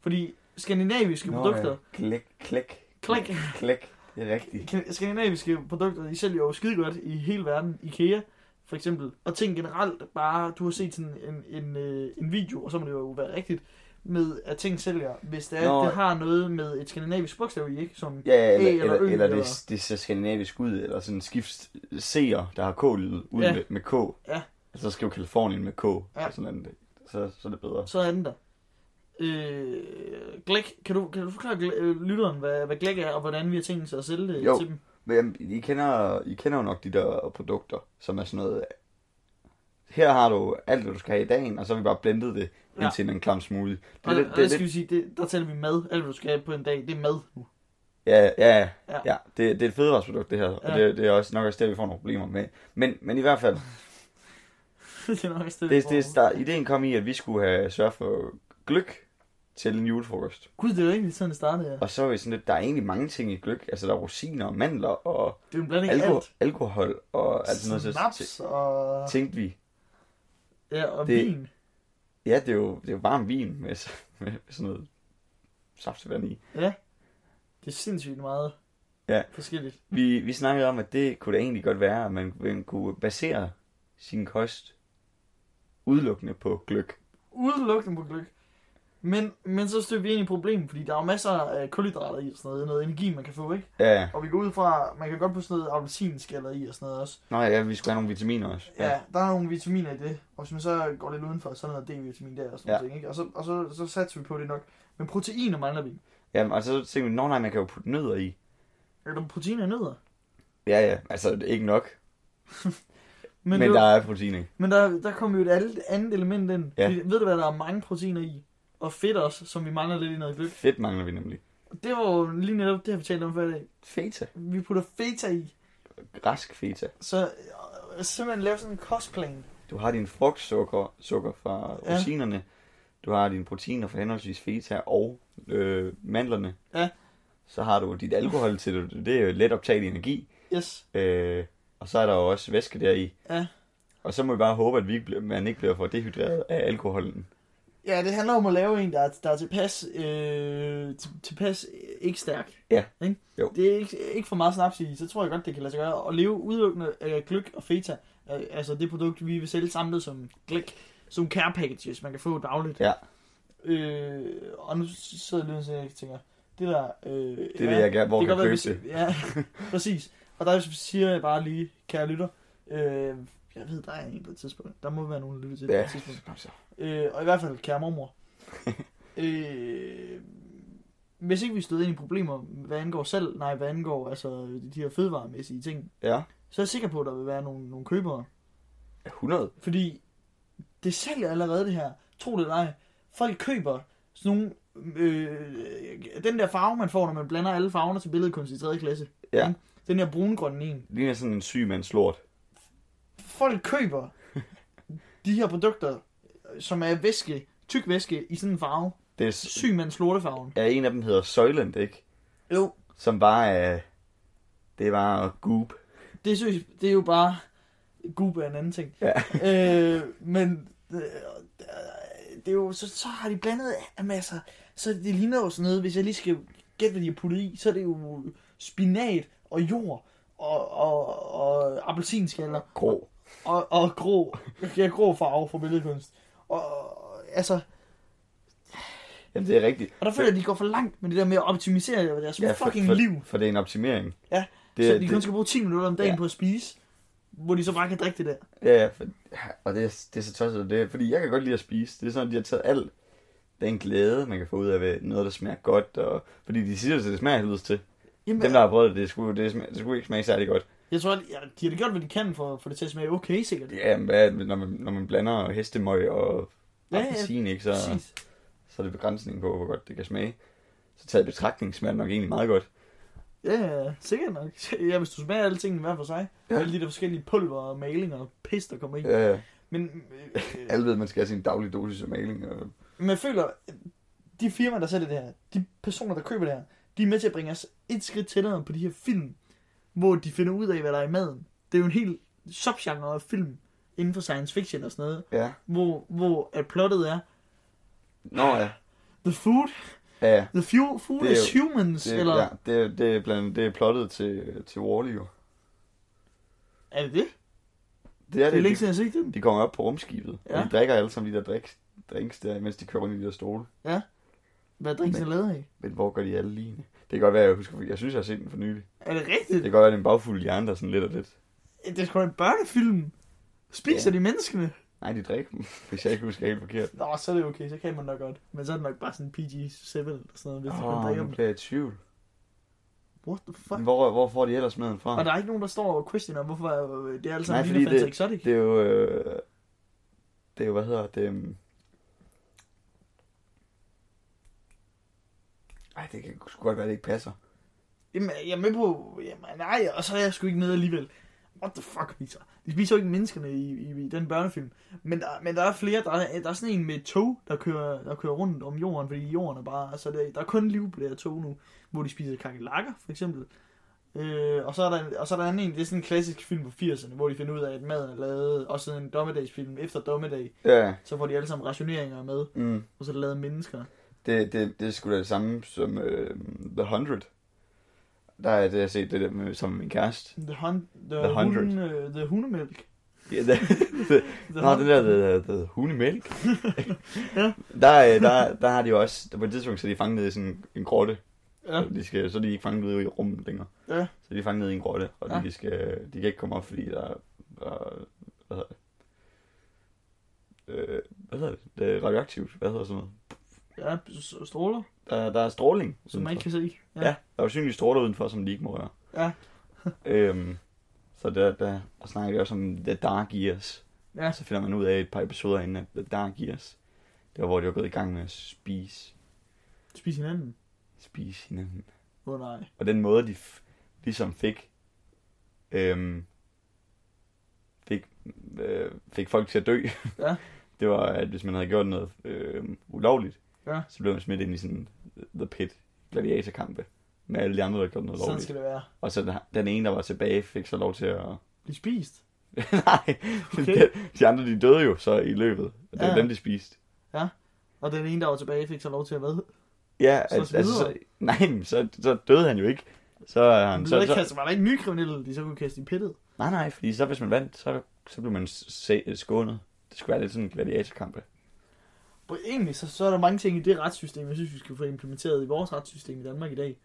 B: fordi skandinaviske Nå, produkter, ja.
D: Klik, klik.
B: Klik.
D: Klik. Det er rigtigt.
B: kan- skandinaviske produkter, de sælger jo skide godt i hele verden. Ikea, for eksempel. Og ting generelt, bare du har set sådan en, en, øh, en video, og så må det jo være rigtigt, med at ting sælger, hvis det, er,
D: Nå.
B: det har noget med et skandinavisk bogstav i, ikke? Som,
D: Ja, ja,
B: Æ,
D: eller,
B: E eller
D: eller,
B: ø,
D: eller
B: eller-
D: det, det ser skandinavisk ud, eller sådan skift C'er, der har K-lyd, ud
B: Ja.
D: med, med K. Altså,
B: Ja.
D: Så skriver Kalifornien med K,
B: Ja.
D: og sådan andet. Så, så er det bedre.
B: så er den der. Øh, Glæk, kan du, kan du forklare gl- øh, lytteren, hvad, hvad Glæk er, og hvordan vi har tænkt os at sælge det
D: Jo.
B: til dem?
D: Men jamen, I kender, I kender jo nok de der produkter, som er sådan noget... Her har du alt, hvad du skal have i dagen, og så har vi bare blendet det
B: Ja.
D: ind til en klam smoothie.
B: Og,
D: Det,
B: det,
D: det,
B: og det,
D: det,
B: skal
D: det,
B: vi sige, det, der taler vi mad. Alt, hvad du skal have på en dag, det er mad
D: Uh.
B: nu.
D: ja, ja,
B: Ja.
D: ja, ja. Det, det er et fødevareprodukt, det her,
B: Ja.
D: og det, det er også nok også der, vi får nogle problemer med. Men, men i hvert fald,
B: det er nok et sted,
D: det,
B: hvor-
D: det, der, ideen kom i, at vi skulle have sørge for gløk til en julefrokost.
B: Gud, det er jo egentlig sådan, det startede, ja.
D: Og så er vi sådan lidt, der er egentlig mange ting i gløk. Altså, der er rosiner og mandler og
B: Det er jo en blanding af
D: alko-
B: alt.
D: alkohol og alt sådan noget. Så
B: Snaps og,
D: tænkte vi,
B: ja, og
D: det-
B: vin.
D: Ja, det er jo, det er jo varm vin med, s- med sådan noget saftevand i.
B: Det er sindssygt meget.
D: Ja.
B: forskelligt.
D: Vi, vi snakkede om, at det kunne da egentlig godt være, at man, man kunne basere sin kost udelukkende på gløk.
B: Udelukkende på gløk. Men, men så støtter vi ind i problemet, fordi der er jo masser af kulhydrater i og sådan noget, noget energi, man kan få, ikke?
D: Ja, ja.
B: Og vi går ud fra, man kan godt få sådan noget appelsinskaller i og sådan noget også.
D: Nå ja, vi skulle have nogle vitaminer også.
B: Ja, der er nogle vitaminer i det, og hvis man så går lidt udenfor, så er der noget D-vitamin der og sådan
D: Ja.
B: ja. ting, ikke? Og, så, og så, så satser vi på det nok. Men proteiner mangler vi.
D: Jamen, og så tænkte vi, nå nej, man kan jo putte nødder i.
B: Er der proteiner i nødder?
D: Ja, ja, altså det er ikke nok, men, men
B: det,
D: der er protein i.
B: men der, der kommer jo et alt andet element ind.
D: Ja.
B: Ja. Ved du hvad, der er mange proteiner i? Og fedt også, som vi mangler lidt i noget gløb.
D: Fedt mangler vi nemlig.
B: Og Det var jo lige netop det, har vi talte om før i dag.
D: Feta.
B: Vi putter feta i,
D: Rask feta.
B: så øh, simpelthen lave sådan en kostplan.
D: Du har din frugtsukker sukker fra
B: Ja.
D: rosinerne. Du har dine proteiner fra henholdsvis feta og øh, mandlerne.
B: Ja.
D: Så har du dit alkohol til det. Det er jo let optaget energi.
B: Yes.
D: Øh, og så er der jo også væske deri.
B: Ja.
D: Og så må vi bare håbe, at vi ikke bliver, man ikke bliver for dehydreret af alkoholen.
B: Ja, det handler om at lave en, der er, der er tilpas, øh, til- tilpas øh, ikke stærk.
D: Ja.
B: Ikke?
D: Jo.
B: Det er ikke, ikke for meget snaps i, så tror jeg godt, det kan lade sig gøre. At leve udelukkende af gløk og feta, øh, altså det produkt, vi vil sælge samlet som gløk, som care packages, man kan få dagligt.
D: Ja.
B: Øh, og nu sidder jeg lige og siger, jeg tænker, det der... Øh,
D: Det vil jeg gerne, hvor
B: det
D: kan
B: kan
D: jeg
B: være,
D: købe
B: hvis,
D: det.
B: Ja, præcis. Og der siger jeg bare lige, kære lytter, øh, jeg ved, der er en på et tidspunkt. Der må være nogen, der lytter til det på
D: Ja.
B: et tidspunkt.
D: Kom så.
B: Øh, og i hvert fald kære mormor. øh, hvis ikke vi stod ind i problemer, hvad angår salg, nej, hvad angår altså, de her fødevaremæssige ting,
D: Ja.
B: så er jeg sikker på, at der vil være nogle, nogle købere.
D: 100.
B: Fordi det sælger allerede det her. Tro det eller ej. Folk køber sådan nogle... Øh, den der farve, man får, når man blander alle farverne til billedkunst i 3. klasse.
D: Ja.
B: Ikke? Den her brungrønne en.
D: Det ligner sådan en syg mands lort.
B: folk køber de her produkter, som er væske, tyk væske i sådan en farve.
D: Det er, s-
B: Syg mands lortefarven.
D: ja, en af dem hedder Soylent, ikke?
B: Jo.
D: Som bare er... det var goop.
B: Det, synes, det er jo bare... Goop er en anden ting.
D: Ja.
B: øh, men øh, det er jo, så, så har de blandet af masser. Så det ligner jo sådan noget, hvis jeg lige skal gætte, hvad de har puttet i, så er det jo spinat og jord og, og, og appelsinskaller
D: Grå.
B: og, og grå, ja, grå farve fra billedkunst. Og, og altså,
D: Jamen, det er rigtigt.
B: Og der føler jeg, at de går for langt med det der med at optimisere deres ja, fucking
D: for,
B: liv.
D: For det er en optimering.
B: Ja,
D: det,
B: så
D: er-
B: de kun skal bruge 10 minutter om dagen
D: Ja.
B: ja. på at spise, hvor de så bare kan drikke det der.
D: Ja, ja, for, og det, er- det er så tosset, det er, fordi jeg kan godt lide at spise. Det er sådan, at de har taget alt den glæde, man kan få ud af ved noget, der smager godt. Og, fordi de siger, at det smager helvedes til.
B: Jamen,
D: Dem, der har prøvet det, det skulle, det, smager, det skulle ikke smage særlig godt.
B: jeg tror, at ja, de har da gjort, hvad de kan for at få det til at smage okay, sikkert.
D: Ja, men hvad, når, man, når man blander hestemøg og
B: Ja, ja,
D: appelsin, ikke, så,
B: Præcis.
D: så er det begrænsning på, hvor godt det kan smage. Så taget i betragtning smager det nok egentlig meget godt.
B: Ja, ja, sikkert nok. Ja, hvis du smager alle tingene hver for sig.
D: Ja.
B: Ja. Alle de der forskellige pulver og malinger og pis, der kommer i. Ja.
D: Ja,
B: Men, øh, øh,
D: alle ved, at man skal have sin daglige dosis af maling. Og,
B: men jeg føler, at de firmaer, der sælger det her, de personer, der køber det her, de er med til at bringe os et skridt tættere på de her film, hvor de finder ud af, hvad der er i maden. Det er jo en helt subgenre af film inden for science fiction og sådan noget,
D: ja.
B: hvor, hvor at plottet er,
D: Nå ja.
B: the food,
D: Ja, ja.
B: the few, food
D: Det er
B: is humans,
D: Det,
B: eller
D: ja, det, det, er blandt, det er plottet til, til Wall-E, jo.
B: er det det?
D: Det er
B: Det er
D: det.
B: længe
D: De,
B: siden, jeg har set den.
D: de kommer op på rumskibet, ja. og
B: Ja.
D: de drikker alle sammen de der drik, drinks der, mens de kører rundt i de der stole.
B: Hvad er drinksen
D: Men-
B: lavet af?
D: Men hvor gør de alle lignende? Det kan godt være, jeg husker, for jeg synes, jeg har set den for nylig.
B: Er det
D: Det
B: rigtigt?
D: kan godt være, det er en bagfuld hjerne, der er sådan lidt og lidt.
B: Det er sgu da en børnefilm. Spiser
D: Ja.
B: ja. de menneskene?
D: Nej, de drikker dem, hvis jeg ikke husker helt forkert.
B: Nå, så er det okay, så kan man nok godt. Men så er det nok bare sådan PG-7 eller sådan noget, hvis oh, man
D: Åh,
B: drikker
D: nu
B: dem.
D: bliver jeg i tvivl.
B: What the fuck?
D: Men Hvor, hvor får de ellers maden fra?
B: Og der er ikke nogen, der står og questioner, hvorfor øh, det er alt sammen
D: Nej,
B: ligner
D: fordi
B: Fantasy Exotic.
D: Det er jo... Øh, det er jo, hvad hedder det... øhm, Ej, det kan sgu godt være, det ikke passer.
B: Jamen, jeg er med på, jamen, nej, og så er jeg sgu ikke med alligevel. What the fuck, Victor? De spiser jo ikke menneskerne i, i, i den børnefilm. Men der, men der er flere, der er, der er sådan en med et tog, der kører, der kører rundt om jorden, fordi jorden er bare, altså der, der er kun liv på det her tog nu, hvor de spiser kakelakker, for eksempel. Øh, og, så er der, og så er der anden en, det er sådan en klassisk film fra 80'erne, hvor de finder ud af, at mad er lavet, og sådan en dommedagsfilm efter dommedag,
D: Ja,
B: så får de alle sammen rationeringer med,
D: mm.
B: og så er det lavet af mennesker.
D: Det, det, det er sgu da det samme som øh, The 100. der har jeg set det der med, sammen med min kæreste.
B: The, hun, the,
D: The
B: the
D: Hundred.
B: Hunde, øh, the hundemælk.
D: Ja, der, der,
B: The
D: Nå,
B: Hun-
D: den der, der, der, der hundemælk.
B: Ja.
D: der, øh, der, der har de jo også, der på et tidspunkt, så er de fanget nede i sådan en grotte.
B: Ja.
D: Så, de skal, så er de ikke fanget nede i rummet længere.
B: Ja.
D: Så er de fanget nede i en grotte, og
B: Ja.
D: de, de, skal, de kan ikke komme op, fordi der er, der, hvad hedder det? Øh, hvad hedder det? Det er radioaktivt. Hvad hedder sådan noget?
B: Ja, s- stråler,
D: Der, der er stråling.
B: som man
D: udenfor.
B: ikke kan se.
D: Ja. ja, der er jo synlige stråler udenfor, som de ikke må røre.
B: Ja.
D: øhm, så der, der og snakker de også om The Dark Years.
B: Ja.
D: Så finder man ud af et par episoder inden, at The Dark Years, det var, hvor de var gået i gang med at spise,
B: Spis hinanden.
D: spise hinanden.
B: Åh oh, nej.
D: Og den måde, de f- ligesom fik, øhm, fik, øh, fik folk til at dø,
B: Ja.
D: det var, at hvis man havde gjort noget øh, ulovligt,
B: Ja.
D: så blev man smidt ind i sådan The Pit, gladiatorkampe, med alle de andre, der havde gjort noget
B: Sådan
D: lovligt.
B: skal det være.
D: Og så den, den ene, der var tilbage, fik så lov til at...
B: Bliv spist.
D: Nej, okay.
B: Okay.
D: de, de andre, de døde jo så i løbet. Og det var
B: Ja.
D: dem, de spiste.
B: Og den ene, der var tilbage, fik så lov til at hvad?
D: Ja,
B: Så
D: altså, altså så,
B: videre.
D: nej, men så, så døde han jo ikke. Så, er han,
B: Men
D: så,
B: så,
D: så,
B: kaste, var der ikke nye kriminelle, de så kunne kaste i pittet?
D: nej, nej, fordi så hvis man vandt, så, så blev man se, skånet. Det skulle være lidt sådan en gladiatorkamp.
B: Og egentlig, så, så er der mange ting i det retssystem, jeg synes, vi skal få implementeret i vores retssystem i Danmark i dag.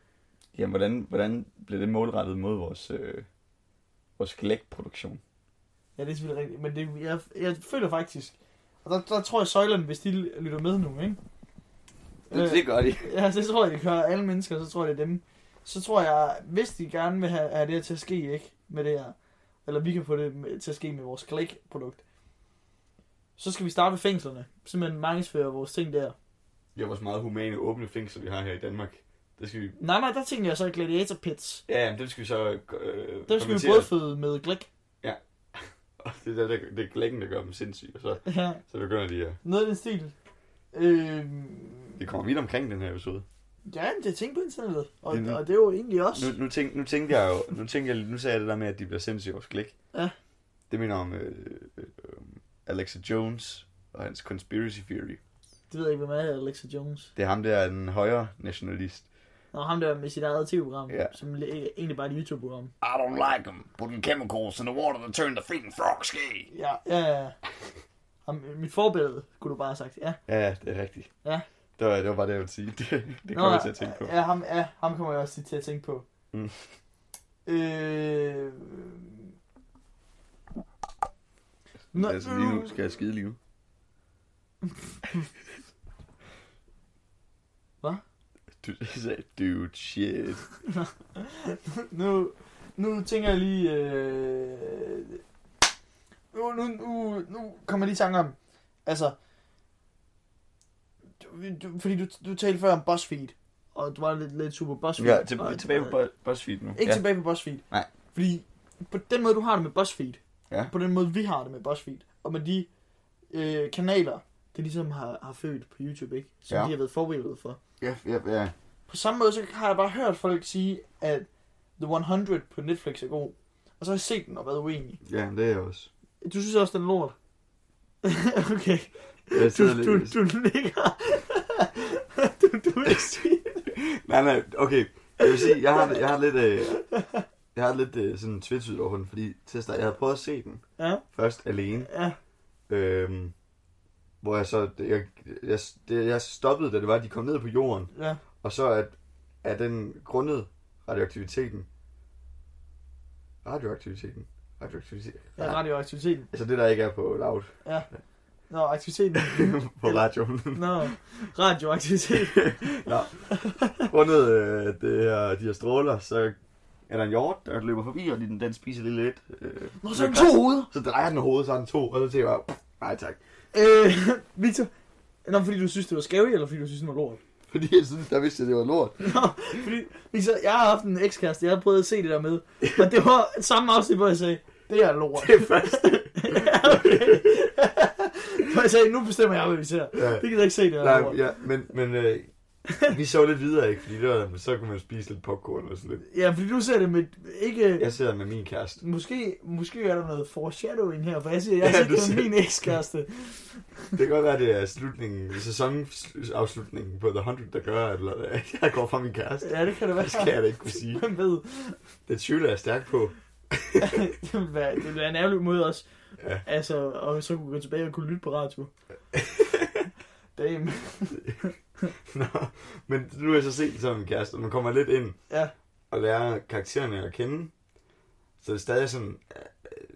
D: Jamen, hvordan, hvordan blev det målrettet mod vores, øh, vores skeletproduktion?
B: Ja, det er selvfølgelig rigtigt, men det, jeg, jeg føler faktisk, og der, der tror jeg, søjlerne, hvis de lytter med nu, ikke? Øh,
D: gør de.
B: Ja, det tror jeg, det gør alle mennesker, så tror jeg, det er dem. Så tror jeg, hvis de gerne vil have, have det her til at ske, ikke? Med det her, eller vi kan få det med, til at ske med vores klæk-produkt, så skal vi starte ved fængslerne. Simpelthen markedsføre vores ting der.
A: Det er vores meget humane, åbne fængsel, vi har her i Danmark. Det skal vi...
B: Nej, nej, der tænker jeg så gladiator pits.
A: Ja, jamen, dem skal vi så... Øh,
B: Der skal vi
A: fermentere.
B: både føde med glæk.
A: Og det er, der, det er glækken, der gør dem sindssyge. Og så,
B: Ja,
A: så begynder de at...
B: noget i den stil. Øhm,
A: Det kommer vidt omkring den her episode.
B: ja, men det er ting på internettet, og,
D: Det er det.
B: og det er jo egentlig os.
A: Nu, nu, tænk, nu tænkte jeg jo... Nu, tænkte jeg, nu sagde jeg det der med, at de bliver sindssyge over sklik.
B: Ja.
A: Det minder om øh, øh, øh, Alexa Jones og hans conspiracy theory.
B: Det ved jeg ikke, hvem er Alexa Jones.
A: Det er ham der, en højre nationalist.
B: Og ham der med sit eget tv-program,
A: Ja.
B: ja. som li- egentlig bare er et YouTube-program.
A: I don't like them. Putting chemicals in the water to turn the freaking frog ski.
B: Ja, ja, ja. Ham, mit forbillede, kunne du bare have sagt. Ja,
A: Ja, det er rigtigt.
B: Ja.
A: Det var, det var bare det, jeg ville sige. Det, det kommer jeg til at tænke på.
B: Ja, ham, ja, ham kommer jeg også til at tænke på.
A: Mm.
B: Øh... Nå,
A: Nå, altså, lige nu skal jeg skide lige ud.
B: Hvad?
A: Du sagde, dude, shit.
B: nu, nu tænker jeg lige... Øh... Nu, nu, nu, nu kommer jeg lige i tanke om... Altså... Du, du, fordi du, du talte før om BuzzFeed, og du var lidt, lidt super BuzzFeed.
D: Ja, til,
B: og,
D: tilbage på BuzzFeed nu.
B: Ikke
D: ja.
B: ja. tilbage på BuzzFeed.
D: Nej.
B: Fordi på den måde, du har det med BuzzFeed,
D: Ja.
B: på den måde, vi har det med BuzzFeed, og med de øh, kanaler, det ligesom har, har født på YouTube, ikke? som
D: Ja.
B: ja. de har været forberedt for.
A: Ja, ja, ja.
B: På samme måde, så har jeg bare hørt folk sige, at The 100 på Netflix er god, og så har jeg set den og været uenig.
A: Ja, det er jeg også.
B: Du synes også, den er lort? okay,
A: Jeg
B: du,
A: sidder
B: du,
A: lidt-
B: du nikker. du, du vil ikke sige det.
A: Nej, nej, okay. Jeg vil sige, jeg har, jeg har lidt, øh, jeg har lidt øh, sådan tvetydigt over den, fordi til at starte, jeg havde prøvet at se den
B: Ja,
A: først alene,
B: ja,
A: øhm, hvor jeg så, jeg, jeg, det, jeg stoppede, da det var, at de kom ned på jorden,
B: ja.
A: og så at, at den grundet radioaktiviteten, radioaktiviteten, radioaktiviteten,
B: Ja, radioaktiviteten.
A: altså det, der ikke er på loud,
B: Nå, aktiviteten.
A: på radioen.
B: Nå, radioaktivitet.
A: Nå. Grundet øh, det her, de her stråler, så er der en hjort, der løber forbi, og den, den spiser lige lidt. Øh,
B: Nå, så er den to hoveder.
A: Så drejer den hovedet, så har den to, og så tænker jeg bare, nej tak.
B: Øh, Victor. Nå, fordi du synes, det var scary, eller fordi du synes, det var lort?
A: Fordi jeg synes, der vidste, at det var lort.
B: Nå, fordi, Victor, jeg har haft en ekskæreste, jeg har prøvet at se det der med. Og det var samme afsnit, hvor jeg sagde, det er lort.
A: Det er første.
B: ja, okay. hvor jeg sagde, nu bestemmer jeg, hvad vi ser.
A: Ja.
B: Det kan jeg ikke se, det er
A: Nej,
B: lort.
A: ja, men, men øh, vi så lidt videre, ikke? Fordi det var, men så kunne man spise lidt popcorn og sådan lidt.
B: Ja, fordi du ser det med ikke...
A: Jeg sidder med min kæreste.
B: Måske, måske er der noget foreshadowing her, for jeg siger, jeg
A: Ja, du
B: har set det
A: siger-
B: med min ekskæreste.
D: Det kan godt være, det er slutningen, sæsonafslutningen på The 100, der gør, at at jeg går fra min kæreste.
B: Ja, det kan det være.
D: Det skal jeg da ikke kunne sige.
B: Hvem ved?
D: Det tvivler jeg stærkt på.
B: det ville være, det ville være en ærgerlig måde også.
D: Ja.
B: Ja. Altså, og så kunne vi gå tilbage og kunne lytte på radio. Damn.
D: Nå, men nu er jeg så set som en kæreste, og man kommer lidt ind
B: Ja.
D: og lærer karaktererne at kende. Så det er stadig sådan øh,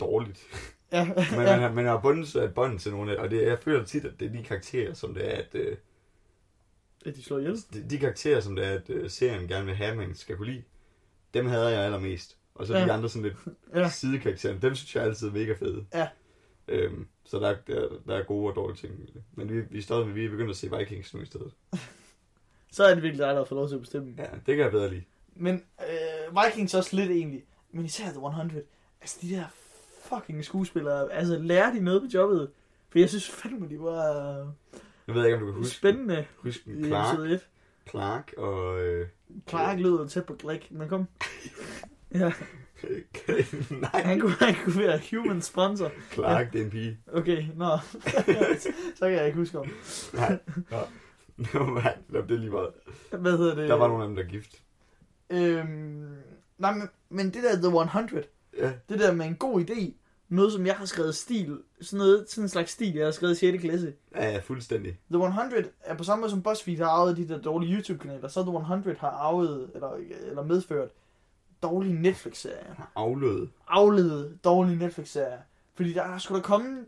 D: dårligt.
B: Ja.
D: Men man, har, man har bundet sig et bånd til nogle af, og det, jeg føler tit, at det er de karakterer, som det er, at, øh,
B: ja. De slår ihjel.
D: de, de karakterer, som det er, at øh, serien gerne vil have, man skal kunne lide, dem hader jeg allermest. Og så de
B: Ja.
D: andre sådan lidt
B: Ja.
D: sidekarakterer, dem synes jeg altid er mega fede.
B: Ja.
D: Øhm, så der, er- der, er- der er gode og dårlige ting. i det. Men vi, vi, er stadig, vi er begyndt at se Vikings nu i stedet.
B: Så er det virkelig dig, der får lov til at bestemme. Ja.
D: Ja, det kan jeg bedre lide.
B: Men øh, Vikings også lidt egentlig. Men især The 100. Altså, de der fucking skuespillere. Altså, lærer de noget på jobbet? For jeg synes fandme, de var øh,
D: Nu ved jeg ikke, om du kan huske,
B: spændende
D: huske
B: i
D: Clark,
B: episode 1.
D: Clark og... Øh,
B: Clark lød tæt på Glæk, men kom. Ja,
D: nej,
B: han kunne, han kunne være human sponsor.
D: Clark, det er en pige.
B: Okay, nå. så kan jeg ikke huske om.
D: Nej, ja. Nå, nej, det er lige meget.
B: Hvad hedder det?
D: Der var nogle af dem, der er gift.
B: Øhm, nej, men, men det der The 100,
D: Ja,
B: det der med en god idé, noget som jeg har skrevet stil, sådan, noget, sådan en slags stil, jeg har skrevet i 6. klasse.
D: ja, ja fuldstændig.
B: The 100 er på samme måde som BuzzFeed har arvet de der dårlige YouTube-kanaler, så The 100 har arvet, eller, eller medført, dårlige Netflix-serier.
D: Aflød.
B: Afledet dårlige Netflix-serier. Fordi der er sgu da kommet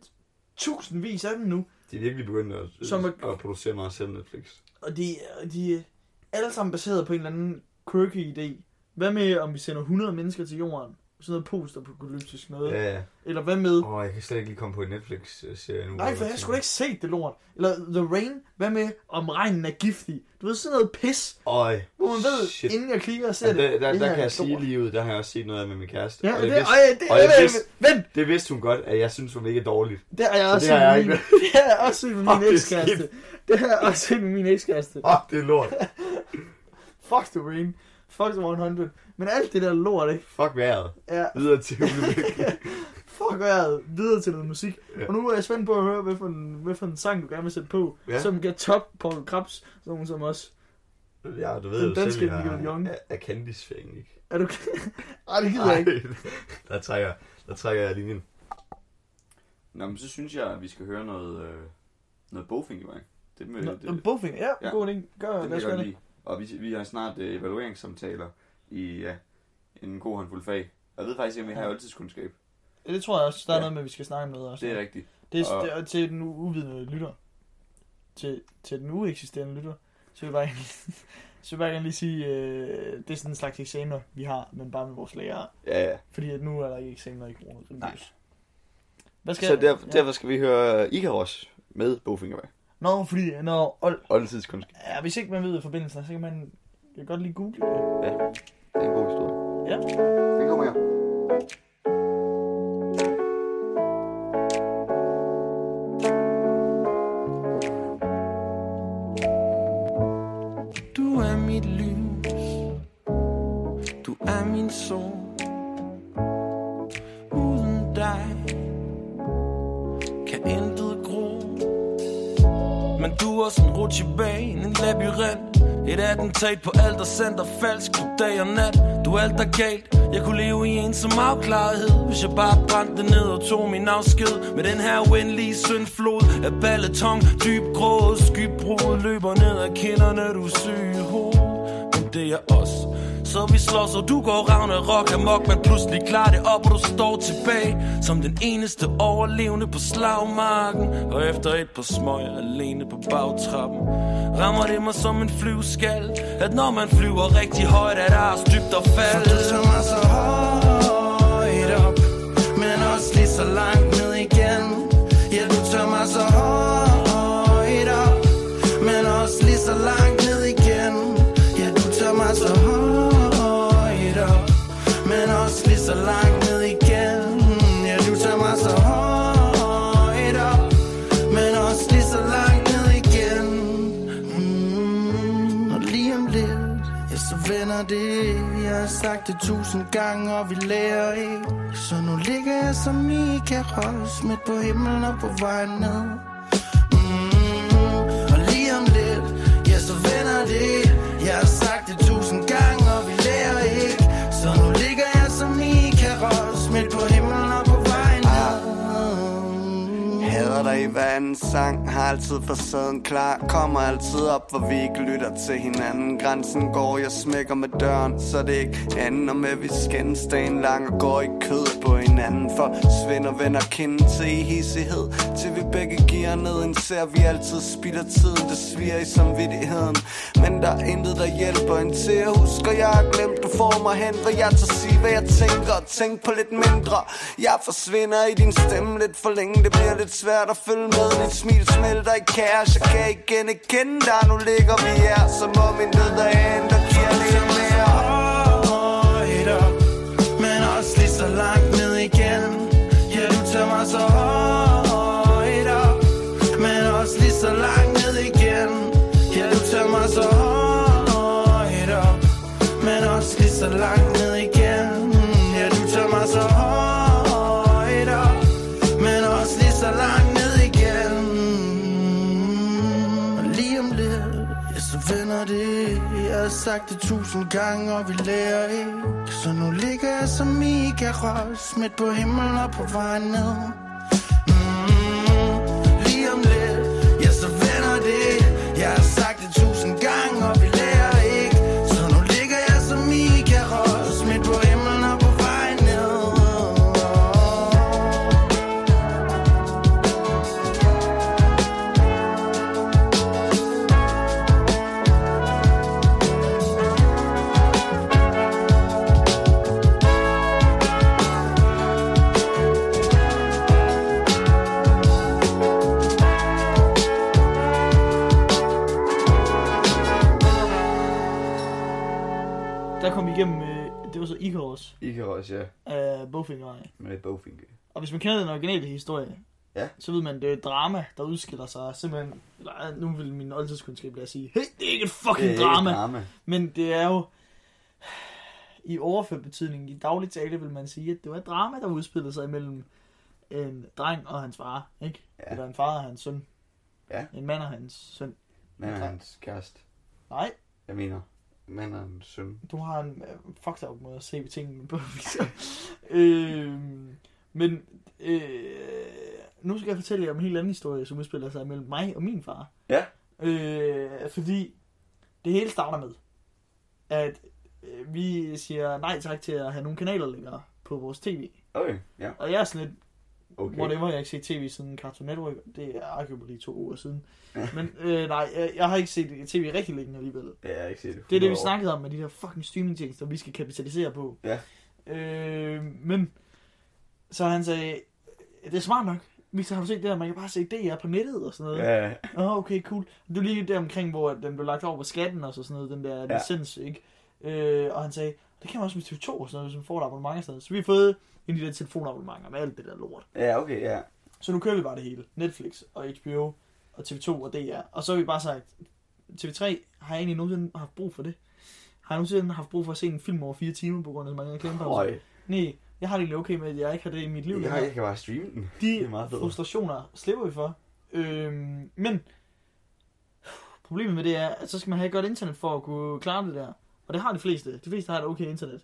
B: tusindvis af dem nu,
D: De er virkelig begyndt at,
B: Som
D: at,
B: er-
D: at producere meget selv Netflix.
B: Og de, og de er alle sammen baseret på en eller anden quirky idé. Hvad med, om vi sender 100 mennesker til jorden? Sådan noget postapokalyptisk noget.
D: Ja, ja.
B: Eller hvad med...
D: Åh, jeg kan slet ikke lige komme på en Netflix-serie nu.
B: Nej, for jeg skulle da ikke set det lort. Eller The Rain. Hvad med, om regnen er giftig? Du ved, sådan noget pis,
D: Øj,
B: hvor man ved,
D: shit.
B: inden jeg klikker og ser
D: Ja,
B: det.
D: der, der,
B: det
D: der
B: her
D: kan
B: er
D: jeg sige
B: lort.
D: lige ud, der har jeg også set noget af med min kæreste.
B: Ja,
D: og
B: og
D: jeg
B: det,
D: vidste,
B: og jeg, det,
D: og jeg
B: vent,
D: vidste-
B: vent,
D: det vidste hun godt, at jeg synes, hun ikke er dårligt.
B: det har jeg også
D: det har
B: set
D: jeg
B: med min,
D: ikke
B: det har jeg også
D: Fuck, det
B: set med min
D: er
B: ekskæreste. Det har jeg også set med min ekskæreste.
D: Åh, oh, det er lort.
B: Fuck The Rain. Fuck The 100. Men alt det der lort, ikke?
D: Fuck vejret.
B: Ja,
D: Videre til Ulebæk.
B: Fuck vejret, videre til noget musik.
D: Ja.
B: Ja. Og nu er jeg spændt på at høre, hvad for en, hvad for en sang, du gerne vil sætte på,
D: Ja.
B: ja. som kan top på Krabs, sådan nogen som os.
D: Ja, du ved
B: Den
D: jo
B: danske
D: selv, jeg
B: Michael Young.
D: er, er Candice-fan, ikke?
B: Er du Ej, det gider jeg ikke.
D: der, trækker, der trækker jeg linjen.
F: Nå, men så synes jeg, at vi skal høre noget, øh, noget bogfingervang. Det, med,
B: Nå,
F: det,
B: nå, Bofing, ja,
F: Ja.
B: ja, god idé. Gør,
F: det
B: lad
F: kan
B: os
F: jeg
B: gøre
F: godt
B: det.
F: lide. Og vi, vi har snart øh, evalueringssamtaler i ja, en god håndfuld fag. Og jeg ved faktisk ikke, om vi har oldtidskundskab.
B: Ja, Det tror jeg også, der er
F: Ja.
B: noget med, vi skal snakke om noget også.
F: Det er rigtigt.
B: det, er,
F: og-
B: det er til den u- uvidende lytter. Til, til den ueksisterende lytter. Så vil jeg bare, så vil jeg bare gerne lige sige, øh, det er sådan en slags eksamener, vi har, men bare med vores lærere.
F: Ja, ja.
B: Fordi at nu er der ikke eksamener i corona.
F: Nej.
B: Hvad skal
F: Så der, derfor skal vi høre Ikaros med bogfingervang.
B: Nå, fordi øh, når old,
F: Oldtidskundskab.
B: Ja, hvis ikke man ved forbindelsen, så kan man jeg kan godt lige google det.
F: Det er en god historie.
B: Ja.
F: Den kommer her.
G: Du er mit lys Du er min sol Uden dig Kan intet gro Men du er sådan rutsjebane En labyrint Et attentat på alt og center Falsk på dag og nat Du er alt der er galt Jeg kunne leve i en som afklarethed Hvis jeg bare brændte det ned og tog min afsked Med den her uendelige syndflod Af balletong, dyb gråd Skybrud løber ned af kinderne Du er syg i hovedet men det er os Så vi slås og du går ravne rock amok Men pludselig klarer det op og du står tilbage Som den eneste overlevende på slagmarken Og efter et par smøger alene på bagtrappen Rammer det mig som en flyveskal At når man flyver rigtig højt Er der også dybt og fald For det som er så højt op Men også lige så langt ned igen Ja du tager mig så højt op Men også lige så langt ned igen Ja du tager mig så højt op Men også lige så langt ned igen Ja du tager mig så højt op Men også lige så langt ned igen mm, Og lige om lidt Ja så vender det Jeg har sagt det tusind gange Og vi lærer ikke Så nu ligger jeg som Mikael Ross Midt på himlen og på vej ned
E: det Jeg har sagt det tusind gange, og vi lærer ikke Så nu ligger jeg som i en karos Midt på himlen og på vejen ned
H: Ah. Hader dig i hver anden sang Har altid facaden klar Kommer altid op, hvor vi ikke lytter til hinanden Grænsen går, jeg smækker med døren Så det ikke ender med, at vi skændes dagen lang Og går i kød på hinanden For svinder vender kinden til i hissighed Til vi begge giver ned En ser vi altid spilder tiden Det sviger i samvittigheden Men der er intet, der hjælper en til at huske og Jeg har glemt, du får mig hen Hvor jeg tager sige, hvad jeg tænker Og tænk på lidt mindre Jeg forsvinder i din stemme lidt for længe Det bliver lidt svært at følge med Dit smil smelter i kaos Jeg kan igen igen der Nu ligger vi her Som om en ved der er en, der giver lidt mere
E: højt op Men også lige så langt ned igen Ja, du tager mig så højt op Men også lige så langt ned igen Ja, du tager mig så højt op Men også lige så langt ned igen Ja, du tager mig så
G: mm,
E: højt op Men også lige så langt ned igen Og lige om lidt, ja, så vender det Jeg har sagt det tusind gange, og vi lærer ikke Så nu ligger jeg som i karos Midt på himlen og på vej ned Mm, lige om lidt, ja, så vender det. Jeg har sagt det tusind gange, og vi lærer ikke. Så nu ligger jeg som i karos midt på himlen og på vej ned.
B: Der kom vi igennem, øh, det var så øh, Icarus
A: I kan også, ja.
B: af Bowfinger.
A: Med bogfinke.
B: Og hvis man kender den originale historie,
A: Ja.
B: så ved man, det er et drama, der udskiller sig simpelthen... Eller, ej, nu vil min oldtidskundskab lade sige, hey, det er ikke et fucking
A: Det er
B: drama.
A: et drama.
B: Men det er jo... I overført betydning, i daglig tale vil man sige, at det var et drama, der udspillede sig imellem en dreng og hans far, ikke?
A: Ja.
B: Ja. Eller en far og hans søn.
A: Ja.
B: En mand og hans søn.
A: Men hans kæreste.
B: Nej,
A: Jeg mener, mand og en søn.
B: du har en øh, fucked up måde at se tingene på. Victor. øhm, men øh, nu skal jeg fortælle jer om en helt anden historie, som udspiller sig mellem mig og min far.
A: Ja.
B: Øh, fordi det hele starter med, at øh, vi siger nej tak til at have nogle kanaler længere på vores tv.
A: Okay, ja.
B: Og jeg er sådan lidt,
A: Okay.
B: Okay. Whatever, jeg har ikke set tv siden Cartoon Network. Det er arguably to uger siden. Men øh, nej, jeg, jeg har ikke set tv rigtig længe alligevel.
A: Ja, jeg har ikke set det.
B: Det er det, vi
A: Nå.
B: snakkede om med de der fucking streamingtjenester, vi skal kapitalisere på.
A: Ja.
B: Øh, men, så han sagde, det er smart nok. Victor, har du set det der, man kan bare se DR på nettet og sådan noget.
A: Ja, ja.
B: Åh, oh, okay, cool. Det var lige der omkring, hvor den blev lagt over på skatten og så sådan noget, den der
A: Ja.
B: ja. licens, ikke? Øh, og han sagde, det kan man også med TV2 og sådan noget, hvis man får et abonnement og sådan noget. Så vi har fået en af de der telefonabonnementer med alt det der lort.
A: ja okay, ja.
B: Så nu kører vi bare det hele. Netflix og HBO og TV2 og DR. Og så har vi bare sagt, TV3 har jeg egentlig nogensinde haft brug for det. Har jeg nogensinde haft brug for at se en film over fire timer på grund af så mange reklamepauser?
A: Høj.
B: Nej, jeg har det egentlig okay med, at jeg ikke har det i mit liv.
A: Jeg, jeg kan bare streame den. Det
B: De
A: er meget fedt.
B: frustrationer slipper vi for. Øhm, men problemet med det er, at så skal man have et godt internet for at kunne klare det der. Og det har de fleste. De fleste har et okay internet.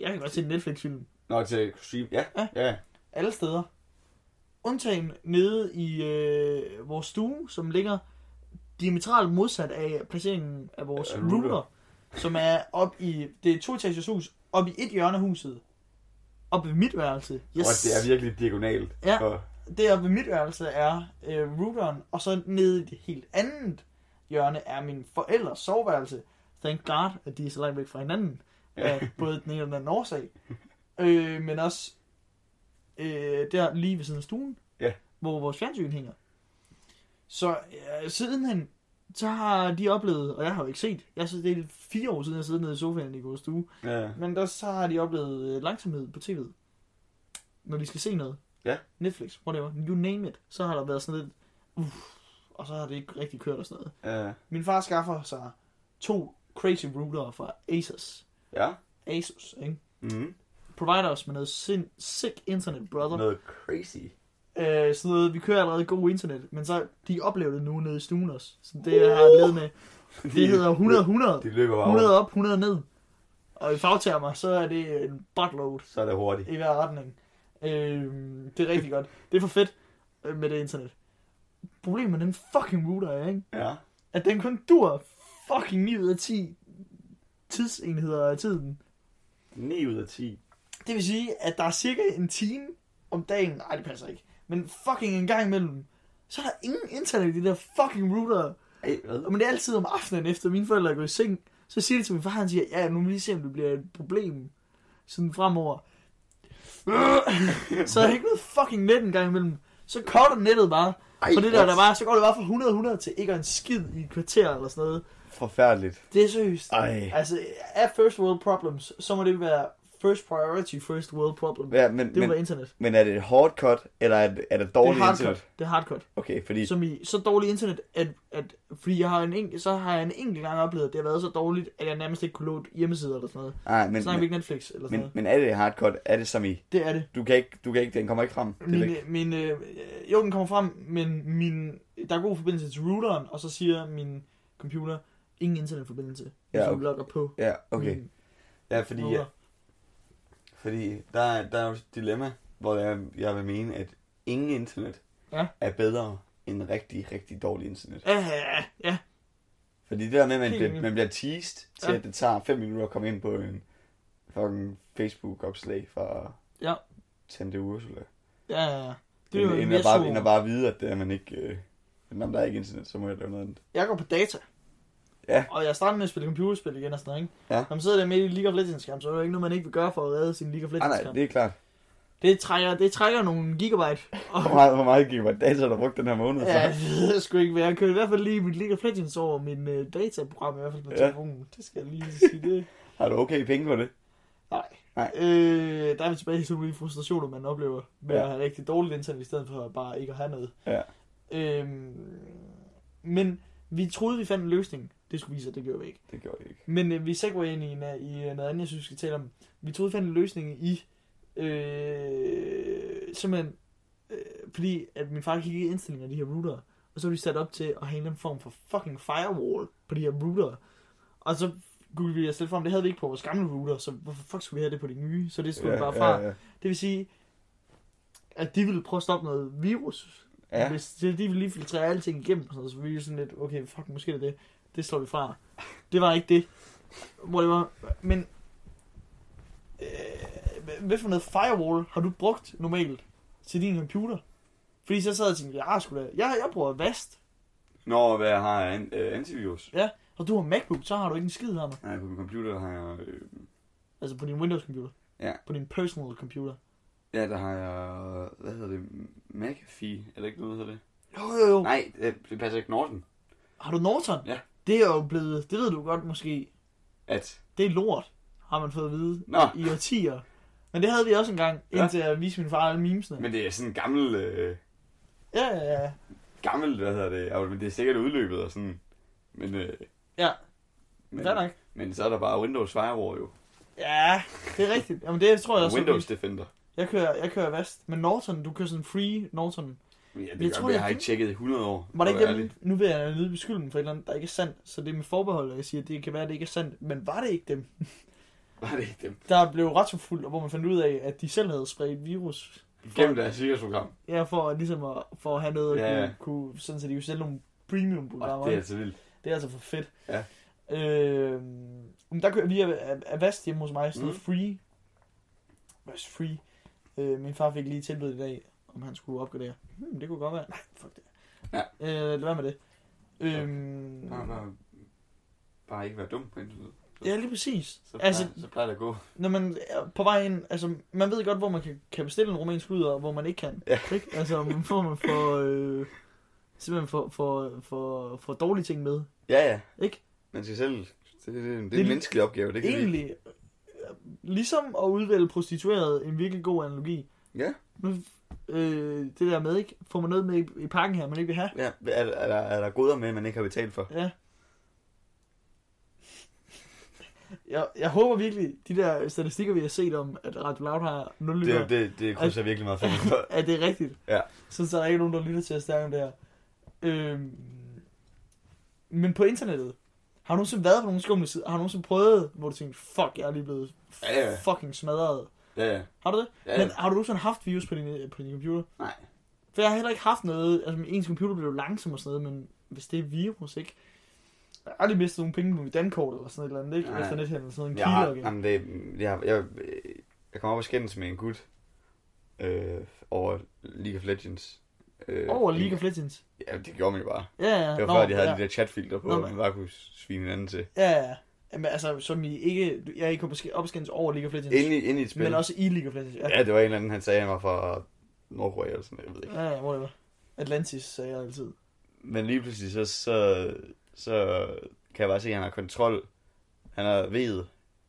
B: Jeg kan godt se en Netflix-film
A: Nå, til at streame. Ja,
B: Ja.
A: ja.
B: alle steder. Undtagen nede i øh, vores stue, som ligger diametralt modsat af placeringen af vores
A: Af router.
B: router, som er op i, det er et to-etagers hus, op i et hjørne af huset. Op ved mit værelse.
A: Yes. Og det er virkelig diagonalt.
B: Ja.
A: Og,
B: deroppe ved mit værelse er øh, routeren, og så nede i det helt andet hjørne er min forældres soveværelse. Thank God, at de er så langt væk fra hinanden, af både den ene og den anden årsag. Øh, men også øh, der lige ved siden af stuen,
A: Ja.
B: hvor vores fjernsyn hænger. Så øh, sidenhen, så har de oplevet, og jeg har jo ikke set, jeg synes, det er fire år siden, jeg sidder nede i sofaen i vores stue,
A: ja.
B: men der så har de oplevet øh, langsomhed på tv'et. Når de skal se noget.
A: Ja.
B: Netflix, whatever, you name it. Så har der været sådan lidt, uff, og så har det ikke rigtig kørt og sådan noget.
A: Ja.
B: Min far skaffer sig to crazy routere fra Asus.
A: ja.
B: Asus, ikke?
A: Mm.
B: Provider os med noget sin, sick internet, brother.
A: Noget crazy.
B: Øh, sådan noget, vi kører allerede god internet, men så de oplever det nu nede i stuen også. Så det har jeg levet med Det hedder 100 100.
A: De løber bare
B: 100
A: 100
B: op, 100 ned. Og i fagtermer, så er det en buttload
A: Så er det hurtigt.
B: i hver retning. Øh, det er rigtig godt. Det er for fedt øh, med det internet. Problemet med den fucking router er, ikke?
A: Ja.
B: at den kun dur fucking 9 ud af 10 tidsenheder af tiden.
A: 9 ud af 10.
B: Det vil sige, at der er cirka en time om dagen. Nej, det passer ikke. Men fucking en gang imellem. Så er der ingen internet i de der fucking router.
A: Ej, hvad?
B: Men det er altid om aftenen, efter mine forældre er gået i seng. Så siger det til min far, han siger, ja, nu må vi lige se, om det bliver et problem. Sådan fremover. så er der ikke noget fucking net en gang imellem. Så cutter nettet bare.
A: Ej,
B: For det der,
A: what?
B: der var, så går det bare fra 100-100 til ikke en skid i et kvarter eller sådan noget.
D: Forfærdeligt.
B: Det er seriøst.
D: Ej.
B: Altså, er first world problems, så må det være first priority first world problem.
D: Ja, men,
B: det må
D: men,
B: være internet.
D: men er det et hardcut, eller er det, er det
B: Det er
D: dårligt internet?
B: hardcut. Det er hardcut.
D: Okay, fordi...
B: Som i så dårligt internet, at, at fordi jeg har en enkelt, så har jeg en enkelt gang oplevet, at det har været så dårligt, at jeg nærmest ikke kunne låne hjemmesider eller sådan noget.
D: Nej, men,
B: Men, Snakker vi
D: men,
B: ikke Netflix eller sådan
D: men,
B: noget.
D: men er det hardcut? Er det som i...
B: Det er det.
D: Du kan ikke... Du kan ikke den kommer ikke frem. Det er
B: Min,
D: rigtigt.
B: øh, min, øh, jo, den kommer frem, men min, der er god forbindelse til routeren, og så siger min computer, ingen internetforbindelse, hvis
D: Ja,
B: ja, okay. du
D: okay.
B: logger på.
D: Ja, okay.
B: min
A: Ja, fordi,
B: router.
A: fordi der, er, der er jo et dilemma, hvor jeg, jeg vil mene, at ingen internet
B: Ja.
A: er bedre end rigtig, rigtig dårlig internet.
B: Ja, ja, ja, ja.
D: Fordi det der med, at man,
B: Helt
D: bliver,
B: enig.
D: man bliver teased til,
B: Ja.
D: at det tager 5 minutter at komme ind på en fucking Facebook-opslag fra
B: Ja.
D: Tante Ursula.
B: Ja, ja, ja. Det
D: Det
B: er jo
D: end, end,
B: mere
D: at bare,
B: så-
D: end at bare vide, at det er man ikke... Øh, men om der er ikke internet, så må jeg lave noget andet.
B: jeg går på data.
D: Ja.
B: Og jeg starter med at spille computerspil igen og sådan noget, ikke?
D: Ja.
B: Når man sidder der midt i League of Legends kamp, så er det jo ikke noget, man ikke vil gøre for at redde sin League of
D: Ah,
B: Legends
D: nej,
B: kamp.
D: det er klart.
B: det... trækker, det trækker nogle gigabyte.
D: Hvor meget, hvor meget gik mig data, der brugte den her måned?
B: ja,
D: Ja.
B: det ved jeg sgu ikke, hvad jeg kørte i hvert fald lige mit League of Legends over min uh, dataprogram, i hvert fald på
D: Ja.
B: ja. telefonen. Det skal jeg lige sige det.
D: Har du okay penge på det?
B: Nej.
D: Nej.
B: Øh, der er vi tilbage til nogle af de frustrationer, man oplever med
D: Ja.
B: ja. at have rigtig dårligt internet, i stedet for bare ikke at have noget.
D: Ja.
B: Øhm, men vi troede, vi fandt en løsning. Det skulle vise sig, det gjorde vi ikke.
D: Det gjorde jeg ikke.
B: Men øh, vi segway ind i, en, i øh, noget andet, jeg synes, vi skal tale om. Vi troede, vi fandt en løsning i, øh, simpelthen, øh, fordi at min far kiggede i indstillinger af de her router, og så var de sat op til at have en eller anden form for fucking firewall på de her router. Og så googlede vi os selv frem, det havde vi ikke på vores gamle router, så hvorfor fuck skulle vi have det på de nye? Så det skulle ja, bare fra. Ja, ja. Det vil sige, at de ville prøve at stoppe noget virus.
D: Ja.
B: Hvis de de ville lige filtrere alting igennem, og sådan noget, så ville vi sådan lidt, okay, fuck, måske er det det. Det slår vi fra. Det var ikke det. Whatever. Men, øh, hvad- hvad for noget firewall har du brugt normalt til din computer? Fordi så sad jeg og tænkte, jeg har sgu da, jeg, jeg bruger Vast,
A: Når hvad jeg har af an, øh, antivirus.
B: og du har MacBook, så har du ikke en skid her med.
A: Nej, på min computer har jeg... Øh,
B: Altså på din Windows-computer.
A: Ja.
B: På din personal computer.
A: ja, der har jeg... Hvad hedder det? McAfee? Eller ikke noget, hedder det?
B: Jo, jo, jo.
A: Nej, øh, det, det passer ikke Norton.
B: Har du Norton?
A: Ja.
B: Det er jo blevet, det ved du godt måske,
A: At...
B: det er lort, har man fået at vide
A: Nå.
B: i årtier. Men det havde vi også engang,
A: Ja.
B: indtil jeg viste min far alle memesene.
A: Men det er sådan en gammel... Øh,
B: Ja, ja, ja.
A: gammel, hvad hedder det? Ja, men det er sikkert udløbet og sådan... Men... Øh,
B: Ja,
A: men,
B: fair nok.
A: men så er der bare Windows Firewall jo.
B: Ja, det er rigtigt. Jamen det tror jeg
A: Og
B: også.
A: Windows Defender.
B: Jeg kører, jeg kører vast. Men Norton, du kører sådan free Norton.
A: Men Ja, det
B: Jeg
A: jeg,
B: tror,
A: tror, jeg,
B: jeg
A: har
B: fik-
A: ikke tjekket i 100 år.
B: Var det
A: for
B: ikke
A: at være
B: dem,
A: ærlig.
B: nu vil jeg lyde beskylden for et eller andet, der ikke er sandt, så det er med forbehold, at jeg siger, at det kan være, at det ikke er sandt. Men var det ikke dem,
A: Var det ikke dem?
B: der blev retsforfulgt, og hvor man fandt ud af, at de selv havde spredt virus?
A: Gennem deres sikkerhedsprogram.
B: Ja, for ligesom at, for at have noget,
A: Ja, ja.
B: at kunne, kunne, sådan så de kunne sælge nogle
A: Og
B: premium-programmer.
A: det er altså vildt.
B: Det er altså for fedt.
A: Ja.
B: Øh, men der kører vi af, af, af Vast hjemme hos mig, sådan noget
A: Mm.
B: free. Vast free. Øh, min far fik lige tilbudt i dag, om han skulle opgradere. Hmm, det kunne godt være. Nej, fuck det.
A: Ja.
B: Øh, lad være med det. Øh,
A: Bare, bare, bare ikke være dum på internet.
B: ja, lige præcis.
A: Så, plejer,
B: altså,
A: altså, så plejer det at gå.
B: når man er på vej ind, altså, man ved godt, hvor man kan, kan bestille en rumænsk ud, og hvor man ikke kan.
A: Ja.
B: Ikke? Altså, hvor man får, øh, simpelthen får, får, får, får dårlige ting med.
A: Ja, ja.
B: Ikke?
A: Man skal selv... Det, det, det, det
B: Det
A: er
B: er
A: en menneskelig opgave, det kan vi ikke.
B: egentlig øh, ligesom at udvælge prostitueret en virkelig god analogi.
A: Ja.
B: Nu, øh, det der med, ikke? Får man noget med i, i pakken her, man ikke vil have?
A: Ja, er, er, der, er der goder med, man ikke har betalt for?
B: Ja. Jeg, jeg håber virkelig, de der statistikker, vi har set om, at Radio Loud har nul lyttere,
A: Det, det, det
B: Altså-
A: krydser jeg virkelig meget fingre for.
B: at det er rigtigt.
A: Ja.
B: Så, så er der ikke nogen, der lytter til os der om det her. Øhm, men på internettet, Har du nogensinde været på nogle skumle sider? Har du nogensinde prøvet, hvor du tænkte, fuck, jeg er lige blevet f-
A: Ja, ja.
B: fucking smadret?
A: Ja, ja.
B: Har du det?
A: Ja.
B: Men har du nogensinde haft virus på din, øh, på din computer?
A: Nej.
B: For jeg har heller ikke haft noget, altså ens computer blev langsom og sådan noget, men hvis det er virus, ikke? Jeg har aldrig mistet nogle penge på mit dankort eller sådan et eller andet, ikke?
A: Nej.
B: Efter nethandel, sådan en
D: Jeg,
B: kilder
D: har,
B: igen.
D: jamen det, jeg, jeg, jeg kom op og skændes med en gut øh, over League of Legends. Øh,
B: Over League of Legends.
D: Ja, det gjorde man jo bare.
B: Ja, ja.
D: Det var Nå,
B: Nå,
D: før, de havde
B: ja.
D: ja. de der chatfilter på,
B: Nå,
D: Nå,
B: men-
D: man bare kunne svine hinanden til.
B: Ja, ja. Jamen, altså, som I ikke... Jeg er ikke på sk- opskændes over League of Legends.
D: Inde i, inde i et spil.
B: men også i League of Legends. Ja,
D: Ja, det var en eller anden, han sagde, han var fra Nordkorea eller sådan noget, jeg ved ikke.
B: ja, ja whatever. Atlantis sagde jeg altid.
D: Men lige pludselig, så, så, så kan jeg bare se, at han har kontrol. Han har ved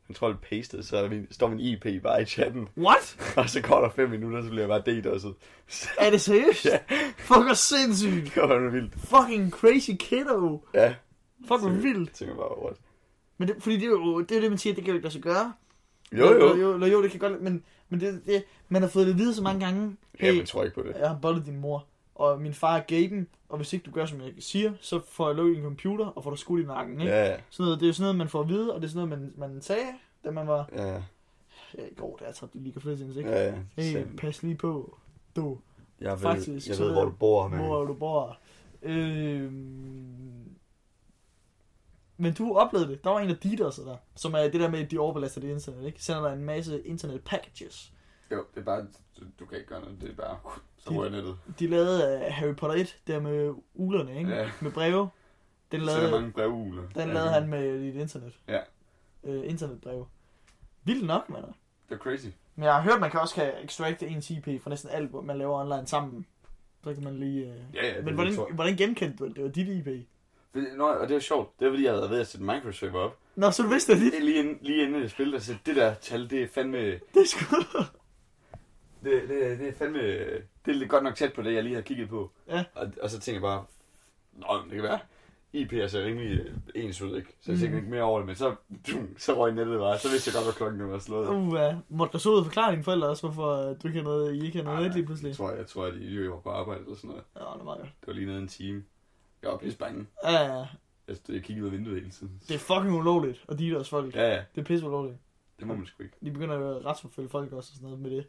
D: kontrol pastet, så er min, står min IP bare i chatten.
B: What?
D: Og så går der fem minutter, så bliver jeg bare DDoS'et. Så
B: Er det seriøst?
D: Ja.
B: Fuck, hvor sindssygt.
D: det var fandme vildt.
B: Fucking crazy kiddo.
D: Ja,
B: Fuck, hvor vildt.
D: jeg tænker bare, what?
B: Men det, fordi det er jo det, er jo det man siger, det kan jo ikke lade sig gøre.
D: Jo, jo.
B: Jo, jo, jo det kan godt men, men det, det, man har fået det at vide så mange gange.
D: Jamen,
B: Hey,
D: jeg tror ikke på det.
B: jeg har boldet din mor, og min far er gaben, og hvis ikke du gør, som jeg siger, så får jeg lukket din computer, og får du skudt i nakken, ikke?
D: Ja, ja.
B: Sådan noget, det er jo sådan noget, man får at vide, og det er sådan noget, man, man sagde, da man var...
D: Ja,
B: Ja, i går, da jeg tabte i League of Legends, ikke?
D: ja, ja.
B: hey,
D: Same.
B: pas lige på, du,
D: Jeg ved,
B: faktisk,
D: jeg
B: så
D: ved,
B: ved
D: hvor
B: jeg-
D: du bor, men...
B: hvor du bor. Øh... Men du oplevede det. Der var en af de der, så der, som er det der med, at de overbelaster det internet, ikke? Sender dig en masse internet packages.
A: Jo, det er bare, du, du kan ikke gøre noget, det er bare, så
B: Det-
A: rører nettet.
B: De lavede øh, Harry Potter 1, der med ulerne, ikke?
A: Ja.
B: Med breve. Den
A: Så er der
B: lavede,
A: mange brevugler.
B: den lavede han med dit internet.
A: Ja.
B: Øh, internetbreve. Vildt nok, mand.
A: Det er crazy.
B: Men jeg har hørt, man kan også kan extracte ens IP fra næsten alt, hvor man laver online sammen. Så kan man lige... Øh...
A: Ja, ja, det
B: Men
A: er
B: hvordan,
A: vildt, tror jeg.
B: hvordan genkendte du, at det var dit IP?
A: Fordi- Nå, og det er sjovt. Det er fordi, jeg havde været ved at sætte Microsoft op.
B: Nå, så du vidste det
A: Det er
B: lige.
A: lige inden, lige inden jeg spillede, så det der tal, det er fandme...
B: Det er sgu...
A: Det, det, det er fandme... Det er lidt godt nok tæt på det, jeg lige har kigget på.
B: Ja.
A: Og, og så tænker jeg bare... Nå, men det kan være. IP er så rimelig øh, ens ud, ikke? Så jeg
B: Mm.
A: tænkte ikke mere over det, men så, dum, så røg nettet bare. Så vidste jeg godt, hvad klokken var slået.
B: Uh, måtte du så ud og forklare dine forældre også, hvorfor øh, du ikke har noget, I ikke har noget net lige pludselig?
A: Jeg tror, jeg, jeg tror, at de jo var på arbejde eller sådan noget.
B: Ja, det er meget godt.
A: Det var lige nede en time. Jeg var pisse bange.
B: Ja, ja, ja.
A: Jeg, stod- jeg kiggede ud af vinduet hele tiden.
B: Det er fucking ulovligt, og de er også folk.
A: Ja, ja.
B: Det er pisse ulovligt.
A: Det må man sgu ikke.
B: de begynder jo at retsforfølge folk også og sådan noget med det.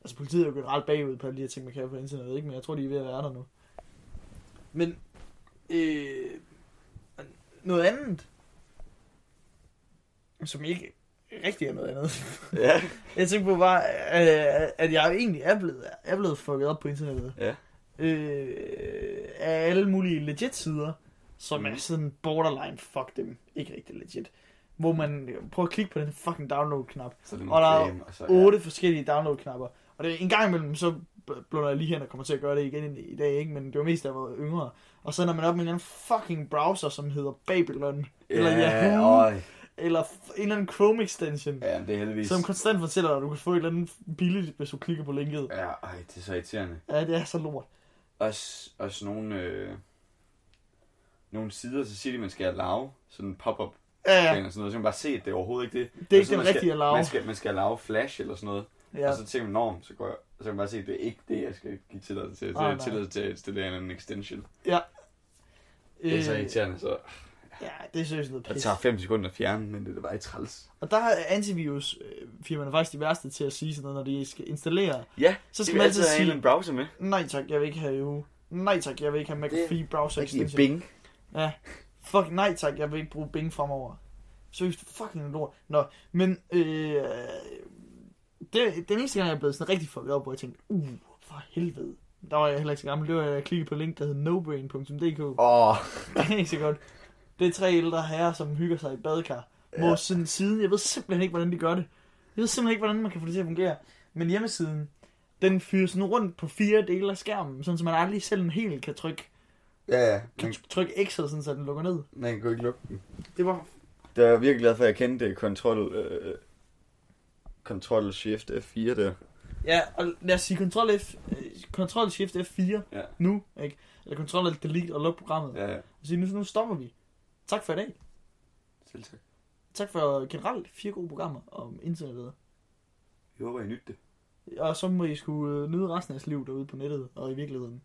B: Altså politiet er jo generelt bagud på alle de her ting, man kan på internettet, ikke? Men jeg tror, de er ved at være der nu. Men, øh, noget andet, som ikke rigtig er noget andet.
D: Ja,
B: jeg tænkte på bare, øh, at jeg egentlig er blevet, er blevet fucket op på internettet.
D: Ja.
B: Øh, af alle mulige legit sider, som er
A: Mm.
B: sådan borderline, fuck dem, ikke rigtig legit. Hvor man prøver at klikke på den fucking download-knap,
A: Så det
B: Og der er
A: og så,
B: otte forskellige download-knapper. Og det er en gang imellem, så bl- blunder jeg lige hen og kommer til at gøre det igen i i dag, ikke? Men det var mest, da jeg var yngre. Og så ender man op med en eller anden fucking browser, som hedder Babylon. Eller
A: ja,
B: Yahoo.
A: øj.
B: Eller f- en eller anden Chrome extension.
A: ja, det er heldigvis.
B: Som konstant fortæller dig, at du kan få et eller andet billigt, hvis du klikker på linket.
A: Ja, ej, det er så irriterende.
B: Ja, det er så lort.
A: Også, også nogle, øh, nogle sider, så siger de, at man skal allow sådan en pop-up ja.
B: Ja, ja.
A: og sådan noget. Så kan man bare se, at det er overhovedet ikke det.
B: Det er
A: Og så
B: ikke den
A: man skal-
B: rigtige allow.
A: Man skal, man skal allow flash eller sådan noget. Ja.
B: ja.
A: Og så tænker man, norm, så går jeg, så kan man bare se, at det er ikke det, jeg skal give tilladelse til. Så
B: Nej,
A: jeg
B: Ah, nej.
A: tilladelse til at installere en anden extension. Det er så
B: Øh,
A: irriterende, så
B: ja, det er seriøst noget
D: det
B: pis.
D: tager 5 sekunder at fjerne, men det er da bare i træls.
B: Og der er antivirusfirmaerne faktisk de værste til at sige sådan noget, når de skal installere.
D: Ja,
B: Så
D: de
B: skal
D: vil
B: man altid
A: altså,
D: have en eller
B: sige,
D: anden browser med.
B: nej tak, jeg vil ikke have EU. Nej tak, jeg vil ikke have McAfee browser
D: Det er
B: extension.
D: Bing.
B: Ja. Fuck nej tak, jeg vil ikke bruge Bing fremover. Seriøst, fucking lort. Nå, men øh, det, den eneste gang, jeg er blevet sådan rigtig fucket op, hvor jeg tænkte, uh, for helvede. Der var jeg heller ikke så gammel. Det var, jeg klikkede på en link, der hed nobrain.dk. Oh.
D: Åh,
B: Det er ikke så godt. Det er tre ældre herrer, som hygger sig i et badekar. Ja. Hvor sådan siden, jeg ved simpelthen ikke, hvordan de gør det. Jeg ved simpelthen ikke, hvordan man kan få det til at fungere. Men hjemmesiden, den fyrer sådan rundt på fire dele af skærmen, sådan så man aldrig selv helt kan trykke,
D: ja, ja.
B: kan trykke X'et, sådan så den lukker ned.
D: Man kan ikke lukke den.
B: Mm. Det var
D: Det er jeg virkelig glad for, at jeg kendte Control, øh, Control Shift F4 der.
B: Ja, og lad os sige Ctrl F, øh, Ctrl Shift F4
A: Ja.
B: nu, ikke? Eller Ctrl Alt Delete og luk programmet. Ja.
A: ja, ja.
B: Så nu, nu stopper vi. Tak for i dag.
A: Selv tak.
B: Tak for generelt fire gode programmer om internettet.
A: Jeg håber, I nytte det.
B: Og så må I skulle øh, nyde resten af jeres liv derude på nettet og i virkeligheden.